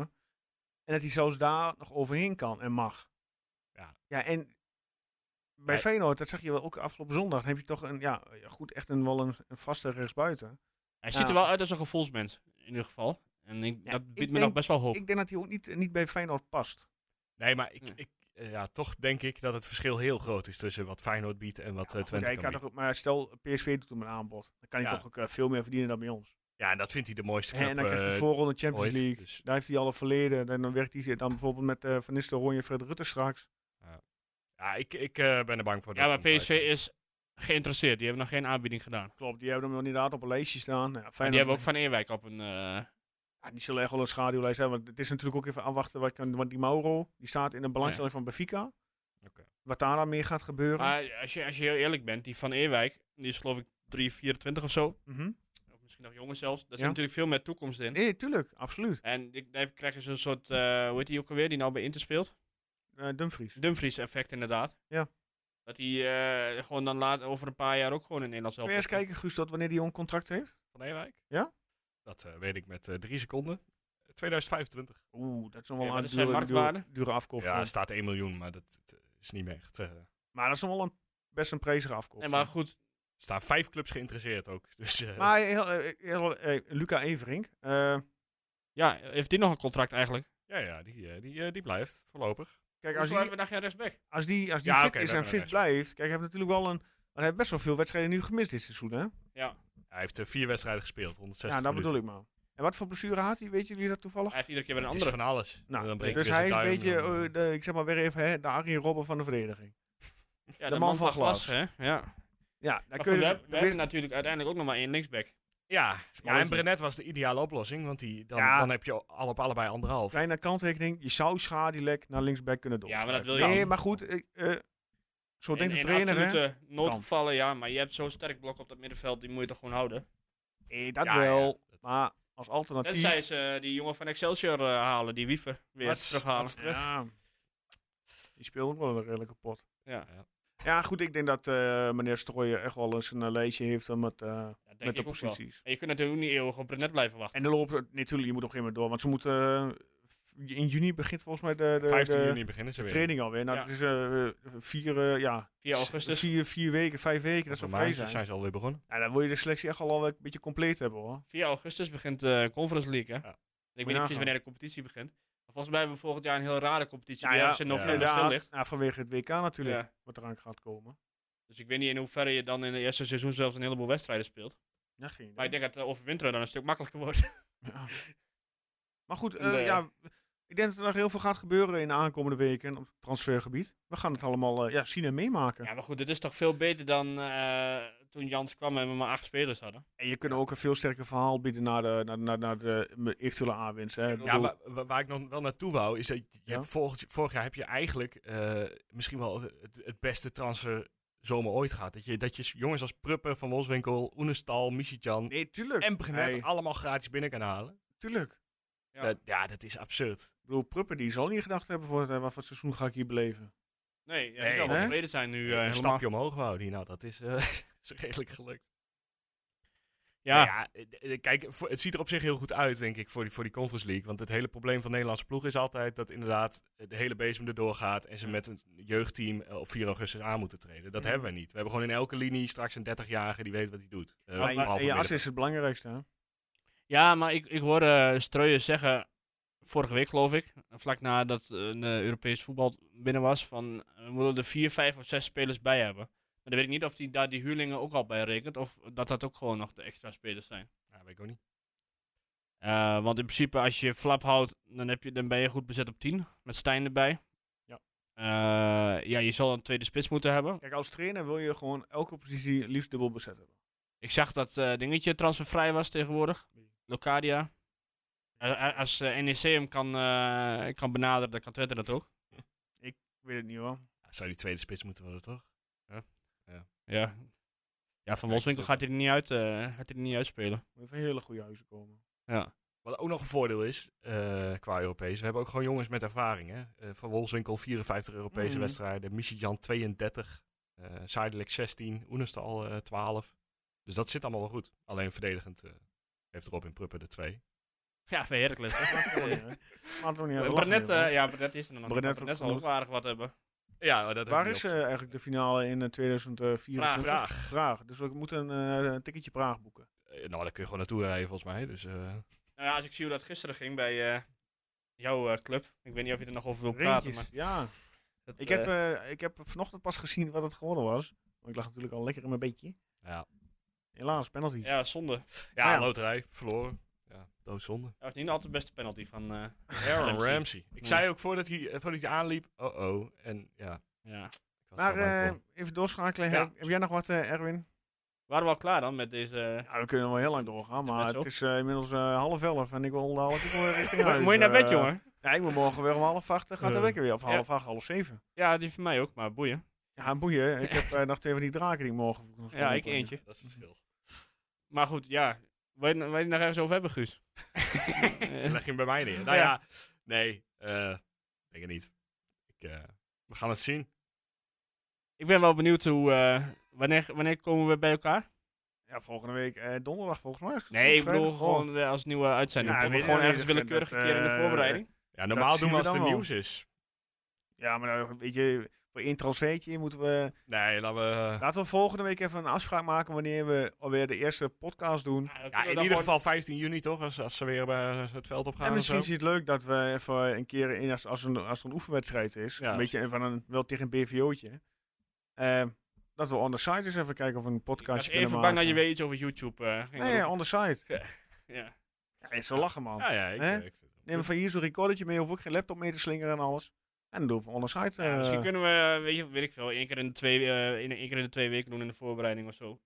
En dat hij zelfs daar nog overheen kan en mag. Ja. ja en bij Hij- Feyenoord, dat zag je wel ook afgelopen zondag, dan heb je toch een, ja, goed, echt een, wel een, een vaste rechtsbuiten. Hij Ja. ziet er wel uit als een gevoelsmens, in ieder geval. En ik, Ja, dat ik biedt me denk- nog best wel hoop. Ik denk dat hij ook niet, niet bij Feyenoord past. Nee, maar ik, Ja. ik, eh, ja, toch denk ik dat het verschil heel groot is tussen wat Feyenoord biedt en wat eh, Goed, Twente hij kan kan bieden. toch, maar stel, PSV doet hem een aanbod. Dan kan hij Ja. toch ook eh, veel meer verdienen dan bij ons. Ja, en dat vindt hij de mooiste club. En dan krijgt hij eh, voorronde Champions ooit, League. dus- Daar heeft hij al een verleden. En dan werkt hij dan bijvoorbeeld met eh, Van Nistelrooy en Fred Rutte straks. ja, ik, ik eh, ben er bang voor. Ja, dat maar hij hem PSV kwijt is geïnteresseerd. Die hebben nog geen aanbieding gedaan. Klopt, die hebben hem inderdaad op een lijstje staan. Ja, En Feyenoord- die hebben ook Van Eerwijk op een... eh, Ja, die zullen echt wel een schaduwlijst hebben. Want het is natuurlijk ook even afwachten. Wat kan, want die Mauro, die staat in de belangstelling van Benfica. Oké. Wat daar dan meer gaat gebeuren. maar als je, als je heel eerlijk bent, die Van Eerwijk, die is geloof ik 3, 24 of zo. Mhm. Of misschien nog jonger zelfs. Daar zit Ja. natuurlijk veel meer toekomst in. Nee, tuurlijk, absoluut. En ik- daar krijg je zo'n soort, eh hoe heet die ook alweer, die nou bij Inter speelt? Eh, Dumfries. Dumfries effect inderdaad. Ja. Dat hij eh, gewoon dan laat, over een paar jaar ook gewoon in Nederland zelf. Kun je eens kijken, Guus, dat wanneer die een contract heeft? Van Ewijk? Ja? Dat eh, weet ik met eh, drie seconden. 2025. Oeh, dat is nog Ja, wel maar een dat zijn dure, dure, marktwaarden. dure afkoop. Ja, er staat 1 miljoen, maar dat, dat is niet meer echt. eh, er maar dat is nog wel een, best een prijzige afkoop. Nee, maar goed, staan vijf clubs geïnteresseerd ook. Dus, eh, Maar heel, eh, heel, eh, Luca Everink, eh, ja, heeft die nog een contract eigenlijk? ja, ja, die, eh, die, eh, die blijft voorlopig. kijk, Als als hebben die, we dag jaar rechtsback? als die, als die Ja, fit oké, is daar en ben ik fit best wel. blijft, kijk, hij heeft natuurlijk wel een, hij heeft best wel veel wedstrijden nu gemist dit seizoen, hè? Ja, Hij heeft eh, vier wedstrijden gespeeld, 160 Ja, dat minuten. bedoel ik maar. En wat voor blessure had hij, weten jullie dat toevallig? hij heeft iedere keer weer een Het andere. is van alles. Nou, dan breekt dus weer zijn hij is een duim, beetje, dan, eh, eh, de, ik zeg maar weer even, hè, de Arjen Robben van de vereniging. Ja, de man van glas. hè? Ja. Maar Ja, daar goed, kun we, je... dus- hebben- we hebben natuurlijk uiteindelijk ook nog maar één linksback. ja, ja, en Smalletje. Brenet was de ideale oplossing, want die, dan, Ja. dan heb je al op allebei anderhalf. Kleine kanttekening, je zou Schadilek naar linksback kunnen Ja, maar dat doorschuiven. wil je Nee, niet. maar goed, eh, eh, zo In- denkt de in trainer, hè? absolute noodgevallen, ja, maar je hebt zo'n sterk blok op dat middenveld, die moet je toch gewoon houden. Nee, dat Ja, wel, ja, dat- maar als alternatief... Tenzij ze eh, die jongen van Excelsior eh, halen, die wiever, weer Wat- terughalen. wat- Ja, die speelt ook wel een redelijke pot. ja, Ja, goed, ik denk dat eh, meneer Strooijen echt wel eens een eh, lijstje heeft eh, met, eh, dat met denk de ik ook wel. posities. En je kunt natuurlijk ook niet eeuwig op Brenet blijven wachten. En dan loopt het, nee, tuurlijk, je moet nog helemaal door, want ze moeten... eh, in juni begint volgens mij de, de, 15 de- juni beginnen ze de weer. training alweer. Nou, Ja. dat is eh, vier, eh, ja, 4 augustus. vier, vier weken, vijf weken, dat Over zou een vrij maand zijn. zijn ze alweer begonnen. Ja, dan wil je de selectie echt al wel een beetje compleet hebben hoor. 4 augustus begint de Conference League, hè? Ja. Ik weet je niet nagaan. precies wanneer de competitie begint. Maar volgens mij hebben we volgend jaar een heel rare competitie Ja, die Nou ja, ergens in ja. november Ja, stil ligt. ja, vanwege het WK natuurlijk, Ja. wat eraan gaat komen. Dus ik weet niet in hoeverre je dan in het eerste seizoen zelfs een heleboel wedstrijden speelt. Ja, geen idee. Maar ik denk dat eh, overwinteren dan een stuk makkelijker wordt. Ja. Maar goed, En, eh, eh, ja, ik denk dat er nog heel veel gaat gebeuren in de aankomende weken op het transfergebied. We gaan het allemaal eh, ja, zien en meemaken. ja, maar goed, dit is toch veel beter dan eh, toen Jans kwam en we maar acht spelers hadden. En je kunt ook een veel sterker verhaal bieden naar de, naar, naar, naar de eventuele aanwinst. Hè. Ik Ja, Ja, bedoel, maar wa- waar ik nog wel naartoe wou, is dat je Ja. hebt vorig, vorig jaar heb je eigenlijk eh, misschien wel het, het beste transfer zomer ooit gehad. Dat je, dat je jongens als Pruppen, Van Wolfswinkel, Oenestal, Michitjan Nee, tuurlijk. en Brenet Nee, allemaal gratis binnen kan halen. tuurlijk. Ja. Dat, ja, dat is absurd. Ik bedoel, Pruppen die zal niet gedacht hebben voor het, eh, wat voor seizoen ga ik hier beleven. Nee, ja, Nee, die zou wel hè? tevreden zijn nu eh, een helemaal. stapje omhoog wou die, nou dat is, eh, is redelijk gelukt. Ja, Nou ja, eh, eh, kijk, voor- het ziet er op zich heel goed uit, denk ik, voor die, voor die Conference League. Want het hele probleem van Nederlandse ploeg is altijd dat inderdaad eh, de hele bezem erdoor gaat en ze met een jeugdteam eh, op 4 augustus aan moeten treden. Dat Ja. hebben we niet. We hebben gewoon in elke linie straks een 30-jarige die weet wat hij doet. Eh, Maar, behalve en je as middenveld. is het belangrijkste. Hè? ja maar ik, ik hoorde eh, Streuer zeggen, vorige week geloof ik, vlak nadat eh, een eh, Europees voetbal binnen was, van eh, we moeten er vier, vijf of zes spelers bij hebben. Maar dan weet ik niet of hij daar die huurlingen ook al bij rekent, of dat dat ook gewoon nog de extra spelers zijn. Ja, weet ik ook niet. Eh, want in principe, als je flap houdt, dan, heb je, dan ben je goed bezet op 10. Met Stijn erbij. Ja. Eh, ja, je zal een tweede spits moeten hebben. Kijk, als trainer wil je gewoon elke positie liefst dubbel bezet hebben. Ik zag dat eh, dingetje transfervrij was tegenwoordig. Locadia. Eh, eh, als eh, NEC hem kan, eh, kan benaderen, dan kan Twente dat ook. Ik weet het niet hoor. Ja, zou Ah, die tweede spits moeten worden, toch? Ja, ja van Wolfswinkel gaat hij er niet uit, eh, gaat hij er niet uitspelen. Moet even hele goede huizen komen. Ja. Wat ook nog een voordeel is eh, qua Europees. We hebben ook gewoon jongens met ervaring. Hè? Eh, van Wolfswinkel 54 Europese Mhm. wedstrijden. Michijan 32. eh Zuidelijk 16. Oenestal eh 12. Dus dat zit allemaal wel goed. Alleen verdedigend eh, heeft Robin Pruppen de 2. Ja, bij Heracles. Maar toch niet Eh, aan de lach Brenet, nemen, hè. eh, ja, Brenet is er nog. niet, maar Brenet Brenet ook zal ook genoeg. aardig wat hebben. Ja, maar dat heb Waar ik is niet eh, op- eigenlijk de finale in eh, 2024? Praag. Praag. Dus we moeten een, eh, een ticketje Praag boeken. Eh, nou, daar kun je gewoon naartoe rijden volgens mij. Dus, eh, Nou ja, als ik zie hoe dat gisteren ging bij eh, Jouw eh, club. Ik weet niet of je er nog over wil praten. Rintjes, Maar ja. dat, Ik heb, eh, eh, ik heb vanochtend pas gezien wat het geworden was. Want ik lag natuurlijk al lekker in mijn beetje. Ja, Helaas, penalty. ja, zonde. ja, Ja. loterij, verloren. Ja, doodzonde. Dat was niet altijd de beste penalty van eh Aaron Ramsey. Ramsey. Ik Ja. zei ook voordat hij, eh, voordat hij aanliep, oh-oh. En ja, Ja. ik was Maar daar bang eh, voor. even doorschakelen. Ja. Heb, heb jij nog wat, eh, Erwin? Waren we al klaar dan met deze... eh, Ja, we kunnen wel heel lang doorgaan, maar best het wel. is eh, inmiddels eh, half elf en ik wil dadelijk ook wel richting Mo- huis. Moet je naar eh. bed, jongen? Ja, ik moet morgen weer om half acht, dan gaat de Eh, wekker weer. Of ja. half acht, half zeven. Ja, die van mij ook, maar boeien. Ja, boeien. Ik heb eh, nog twee van die draken die morgen vroeg nog Ja, ik opbrengen. eentje. Dat is het verschil. Maar goed, ja. Wil je, wil je het nog ergens over hebben, Guus? Dan Eh, leg je hem bij mij neer. Nou Ja. ja, nee, eh, ik denk het niet. Ik, eh, we gaan het zien. ik ben wel benieuwd hoe... eh, wanneer, wanneer komen we bij elkaar? Ja, volgende week eh, donderdag volgens mij. is het Nee, ik vrijdag. bedoel Oh. gewoon eh, als nieuwe uitzending. Ja, Ja, weet- gewoon weet- ergens dat- willekeurig een dat, keer in de eh, voorbereiding. Ja, normaal zien doen we we als dan er wel. nieuws is. Ja, maar nou, weet je, voor één transfertje moeten we... Nee, laten we... Laten we volgende week even een afspraak maken wanneer we alweer de eerste podcast doen. Ja, dan kunnen we Ja, dan in ieder gewoon- geval 15 juni toch, als, als ze weer bij het veld op gaan. en of misschien zo. is het leuk dat we even een keer, in, als, als, een, als er een oefenwedstrijd is, Ja, een beetje van een, wel tegen een BVO'tje, ehm, dat we on the site eens even kijken of we een Ik podcast was kunnen even bang maken. dat je weer iets over YouTube eh, ging Nee, roepen. on the site. ja. Ja, is zo lachen, man. Ja, ja, ik, Hè? eh, ik vind het Neem van hier zo'n recordertje mee, hoef ik geen laptop mee te slingeren en alles. En dan doen we on the site. Ja, eh, misschien kunnen we, eh, weet, je, weet ik veel, één keer, in de twee, eh, één, één keer in de twee weken doen in de voorbereiding of zo.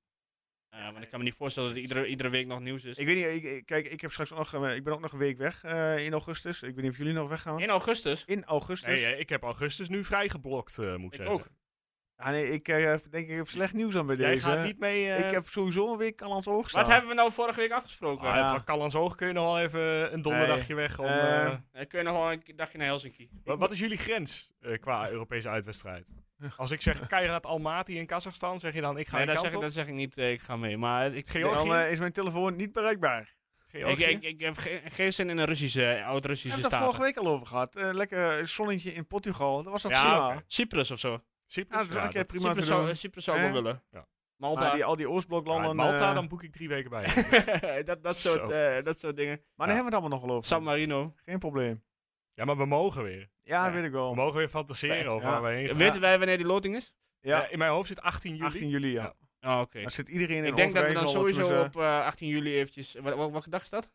Eh, want ik kan me niet voorstellen dat er iedere, iedere week nog nieuws is. Dus Ik weet niet, ik- ik, kijk, ik, heb straks nog, eh, ik ben ook nog een week weg eh, in augustus. Ik weet niet of jullie nog weggaan. in augustus? In augustus. Nee, eh, ik heb augustus nu vrijgeblokt, eh moet ik Ik zeggen. ook. Ah, nee, ik eh, heb denk ik heb slecht nieuws aan bij Jij deze. gaat niet mee... eh, Ik heb sowieso een week al aan het oog staan. Wat hebben we nou vorige week afgesproken? ah, Ja. Van Callans Hoog kun je nog wel even een donderdagje weg. Om, Eh, eh, Eh, kun je nog wel een dagje naar Helsinki? wa- wat is jullie grens eh, qua Europese uitwedstrijd? Als ik zeg Keirat Almaty in Kazachstan, zeg je dan ik ga nee, die dat kant zeg, ik- op? dat zeg ik niet, eh, ik ga mee. Maar ik, Georgië? Dan eh, is mijn telefoon niet bereikbaar. ik, Georgië? ik, ik heb ge- geen zin in een Russische, eh, We oud-Russische hebben het daar staat. vorige week al over gehad. Eh, lekker zonnetje in Portugal. Dat was toch Ja, prima. oké. Cyprus of zo. Ja, Cyprus? Ah, dat is wel een keer dat- prima te Cyprus doen. zou, Cyprus zou ik wel Eh? willen. Ja. Ah, Malta. Maar die, al die Ja, oostbloklanden. in Malta, eh, dan boek ik drie weken bij. dat, dat, Zo. soort, eh, dat soort dingen. Maar daar hebben we het allemaal nog wel over. San Marino. Geen probleem. ja, maar we mogen weer. Ja, Ja. weet ik We wel. mogen weer fantaseren Ja. over waar we heen gaan. Weten wij wanneer die loting is? Ja, Ja, in mijn hoofd zit 18 juli. 18 juli, ja. eh, Ja. Oh, oké. Daar zit iedereen in Ik denk dat we dan Overijssel sowieso tussen- op eh, 18 juli eventjes... Wat, wat, welke dag is dat?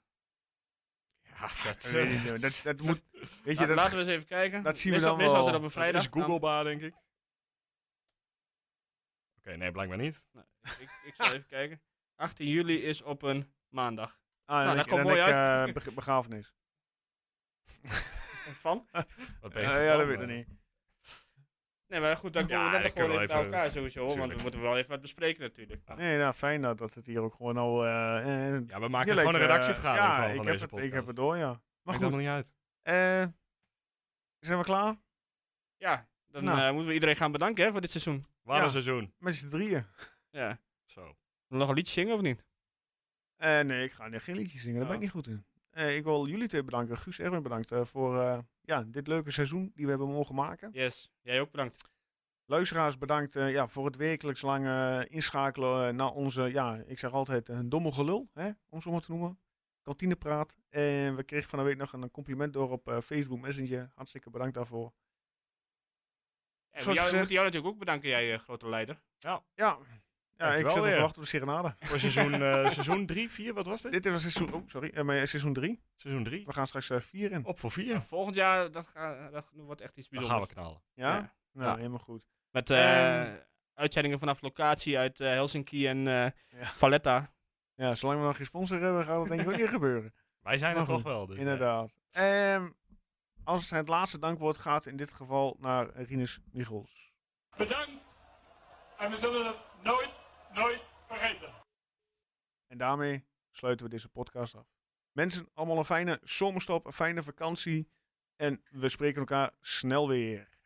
Ja, dat, Ik weet niet, joh. Dat, dat moet... Weet je, La- dat... Laten we eens even kijken. dat zien we meestal, dan meestal wel. is het op een vrijdag. is googlebaar, denk ik. Oké, nee, blijkbaar niet. Nou, ik, ik zal even kijken. 18 juli is op een maandag. Ah, dan Nou, dat ik- komt dan mooi ik, uit. eh, beg- begrafenis. Van? Wat ben je Eh, van Ja, plan, dat weet ik eh? niet. Nee, maar goed, Ja, dan komen we dat dat kunnen gewoon we even naar even- elkaar sowieso. Want tuurlijk. we moeten wel even wat bespreken natuurlijk. Ja. Nee, nou, fijn dat, dat het hier ook gewoon al... eh, eh, Ja, we Hier maken lijkt, gewoon een eh, redactievergadering ja, van, ik van heb deze het, podcast. Ik heb het door, ja. Maar Maakt goed, nog niet uit. eh, zijn we klaar? Ja, dan Nou. eh, moeten we iedereen gaan bedanken hè, voor dit seizoen. Wat een Ja. seizoen. Met z'n drieën. Ja. Zo. Nog een liedje zingen of niet? Eh, nee, ik ga nu geen liedjes zingen, daar ben ik Oh. niet goed in. Eh, ik wil jullie twee bedanken, Guus Erwin bedankt eh, voor eh, ja, dit leuke seizoen die we hebben mogen maken. Yes, jij ook bedankt. Luisteraars bedankt eh, ja, voor het wekelijks lange eh, inschakelen eh, naar onze, ja, ik zeg altijd, een domme gelul, hè, om zo maar te noemen. Kantinepraat. En we kregen van de week nog een compliment door op eh, Facebook Messenger. Hartstikke bedankt daarvoor. En we Zoals Eh, jou- we gezegd- moeten jou natuurlijk ook bedanken, jij eh, grote leider. Ja, ja ik Dankjewel zit op te weer. wachten op de serenade. Voor seizoen 3, seizoen 4, wat was dit? Dit was seizoen, oh, sorry, eh, maar seizoen 3. Seizoen 3. We gaan straks 4 in. Op voor 4. Volgend jaar, dat, ga, dat wordt echt iets Dan gaan we bijzonders. knallen. Ja? Ja. Nou, Ja. helemaal goed. Met eh, Ehm. uitzendingen vanaf locatie uit eh, Helsinki en eh, Ja. Valletta. Ja, zolang we nog geen sponsor hebben, gaat dat denk ik ook niet gebeuren. Wij zijn er Maar toch goed, wel. Dus. Inderdaad. Ehm, als het laatste dankwoord gaat in dit geval naar Rinus Michels. Bedankt. En we zullen het nooit, nooit vergeten. En daarmee sluiten we deze podcast af. Mensen, allemaal een fijne zomerstop, een fijne vakantie. En we spreken elkaar snel weer.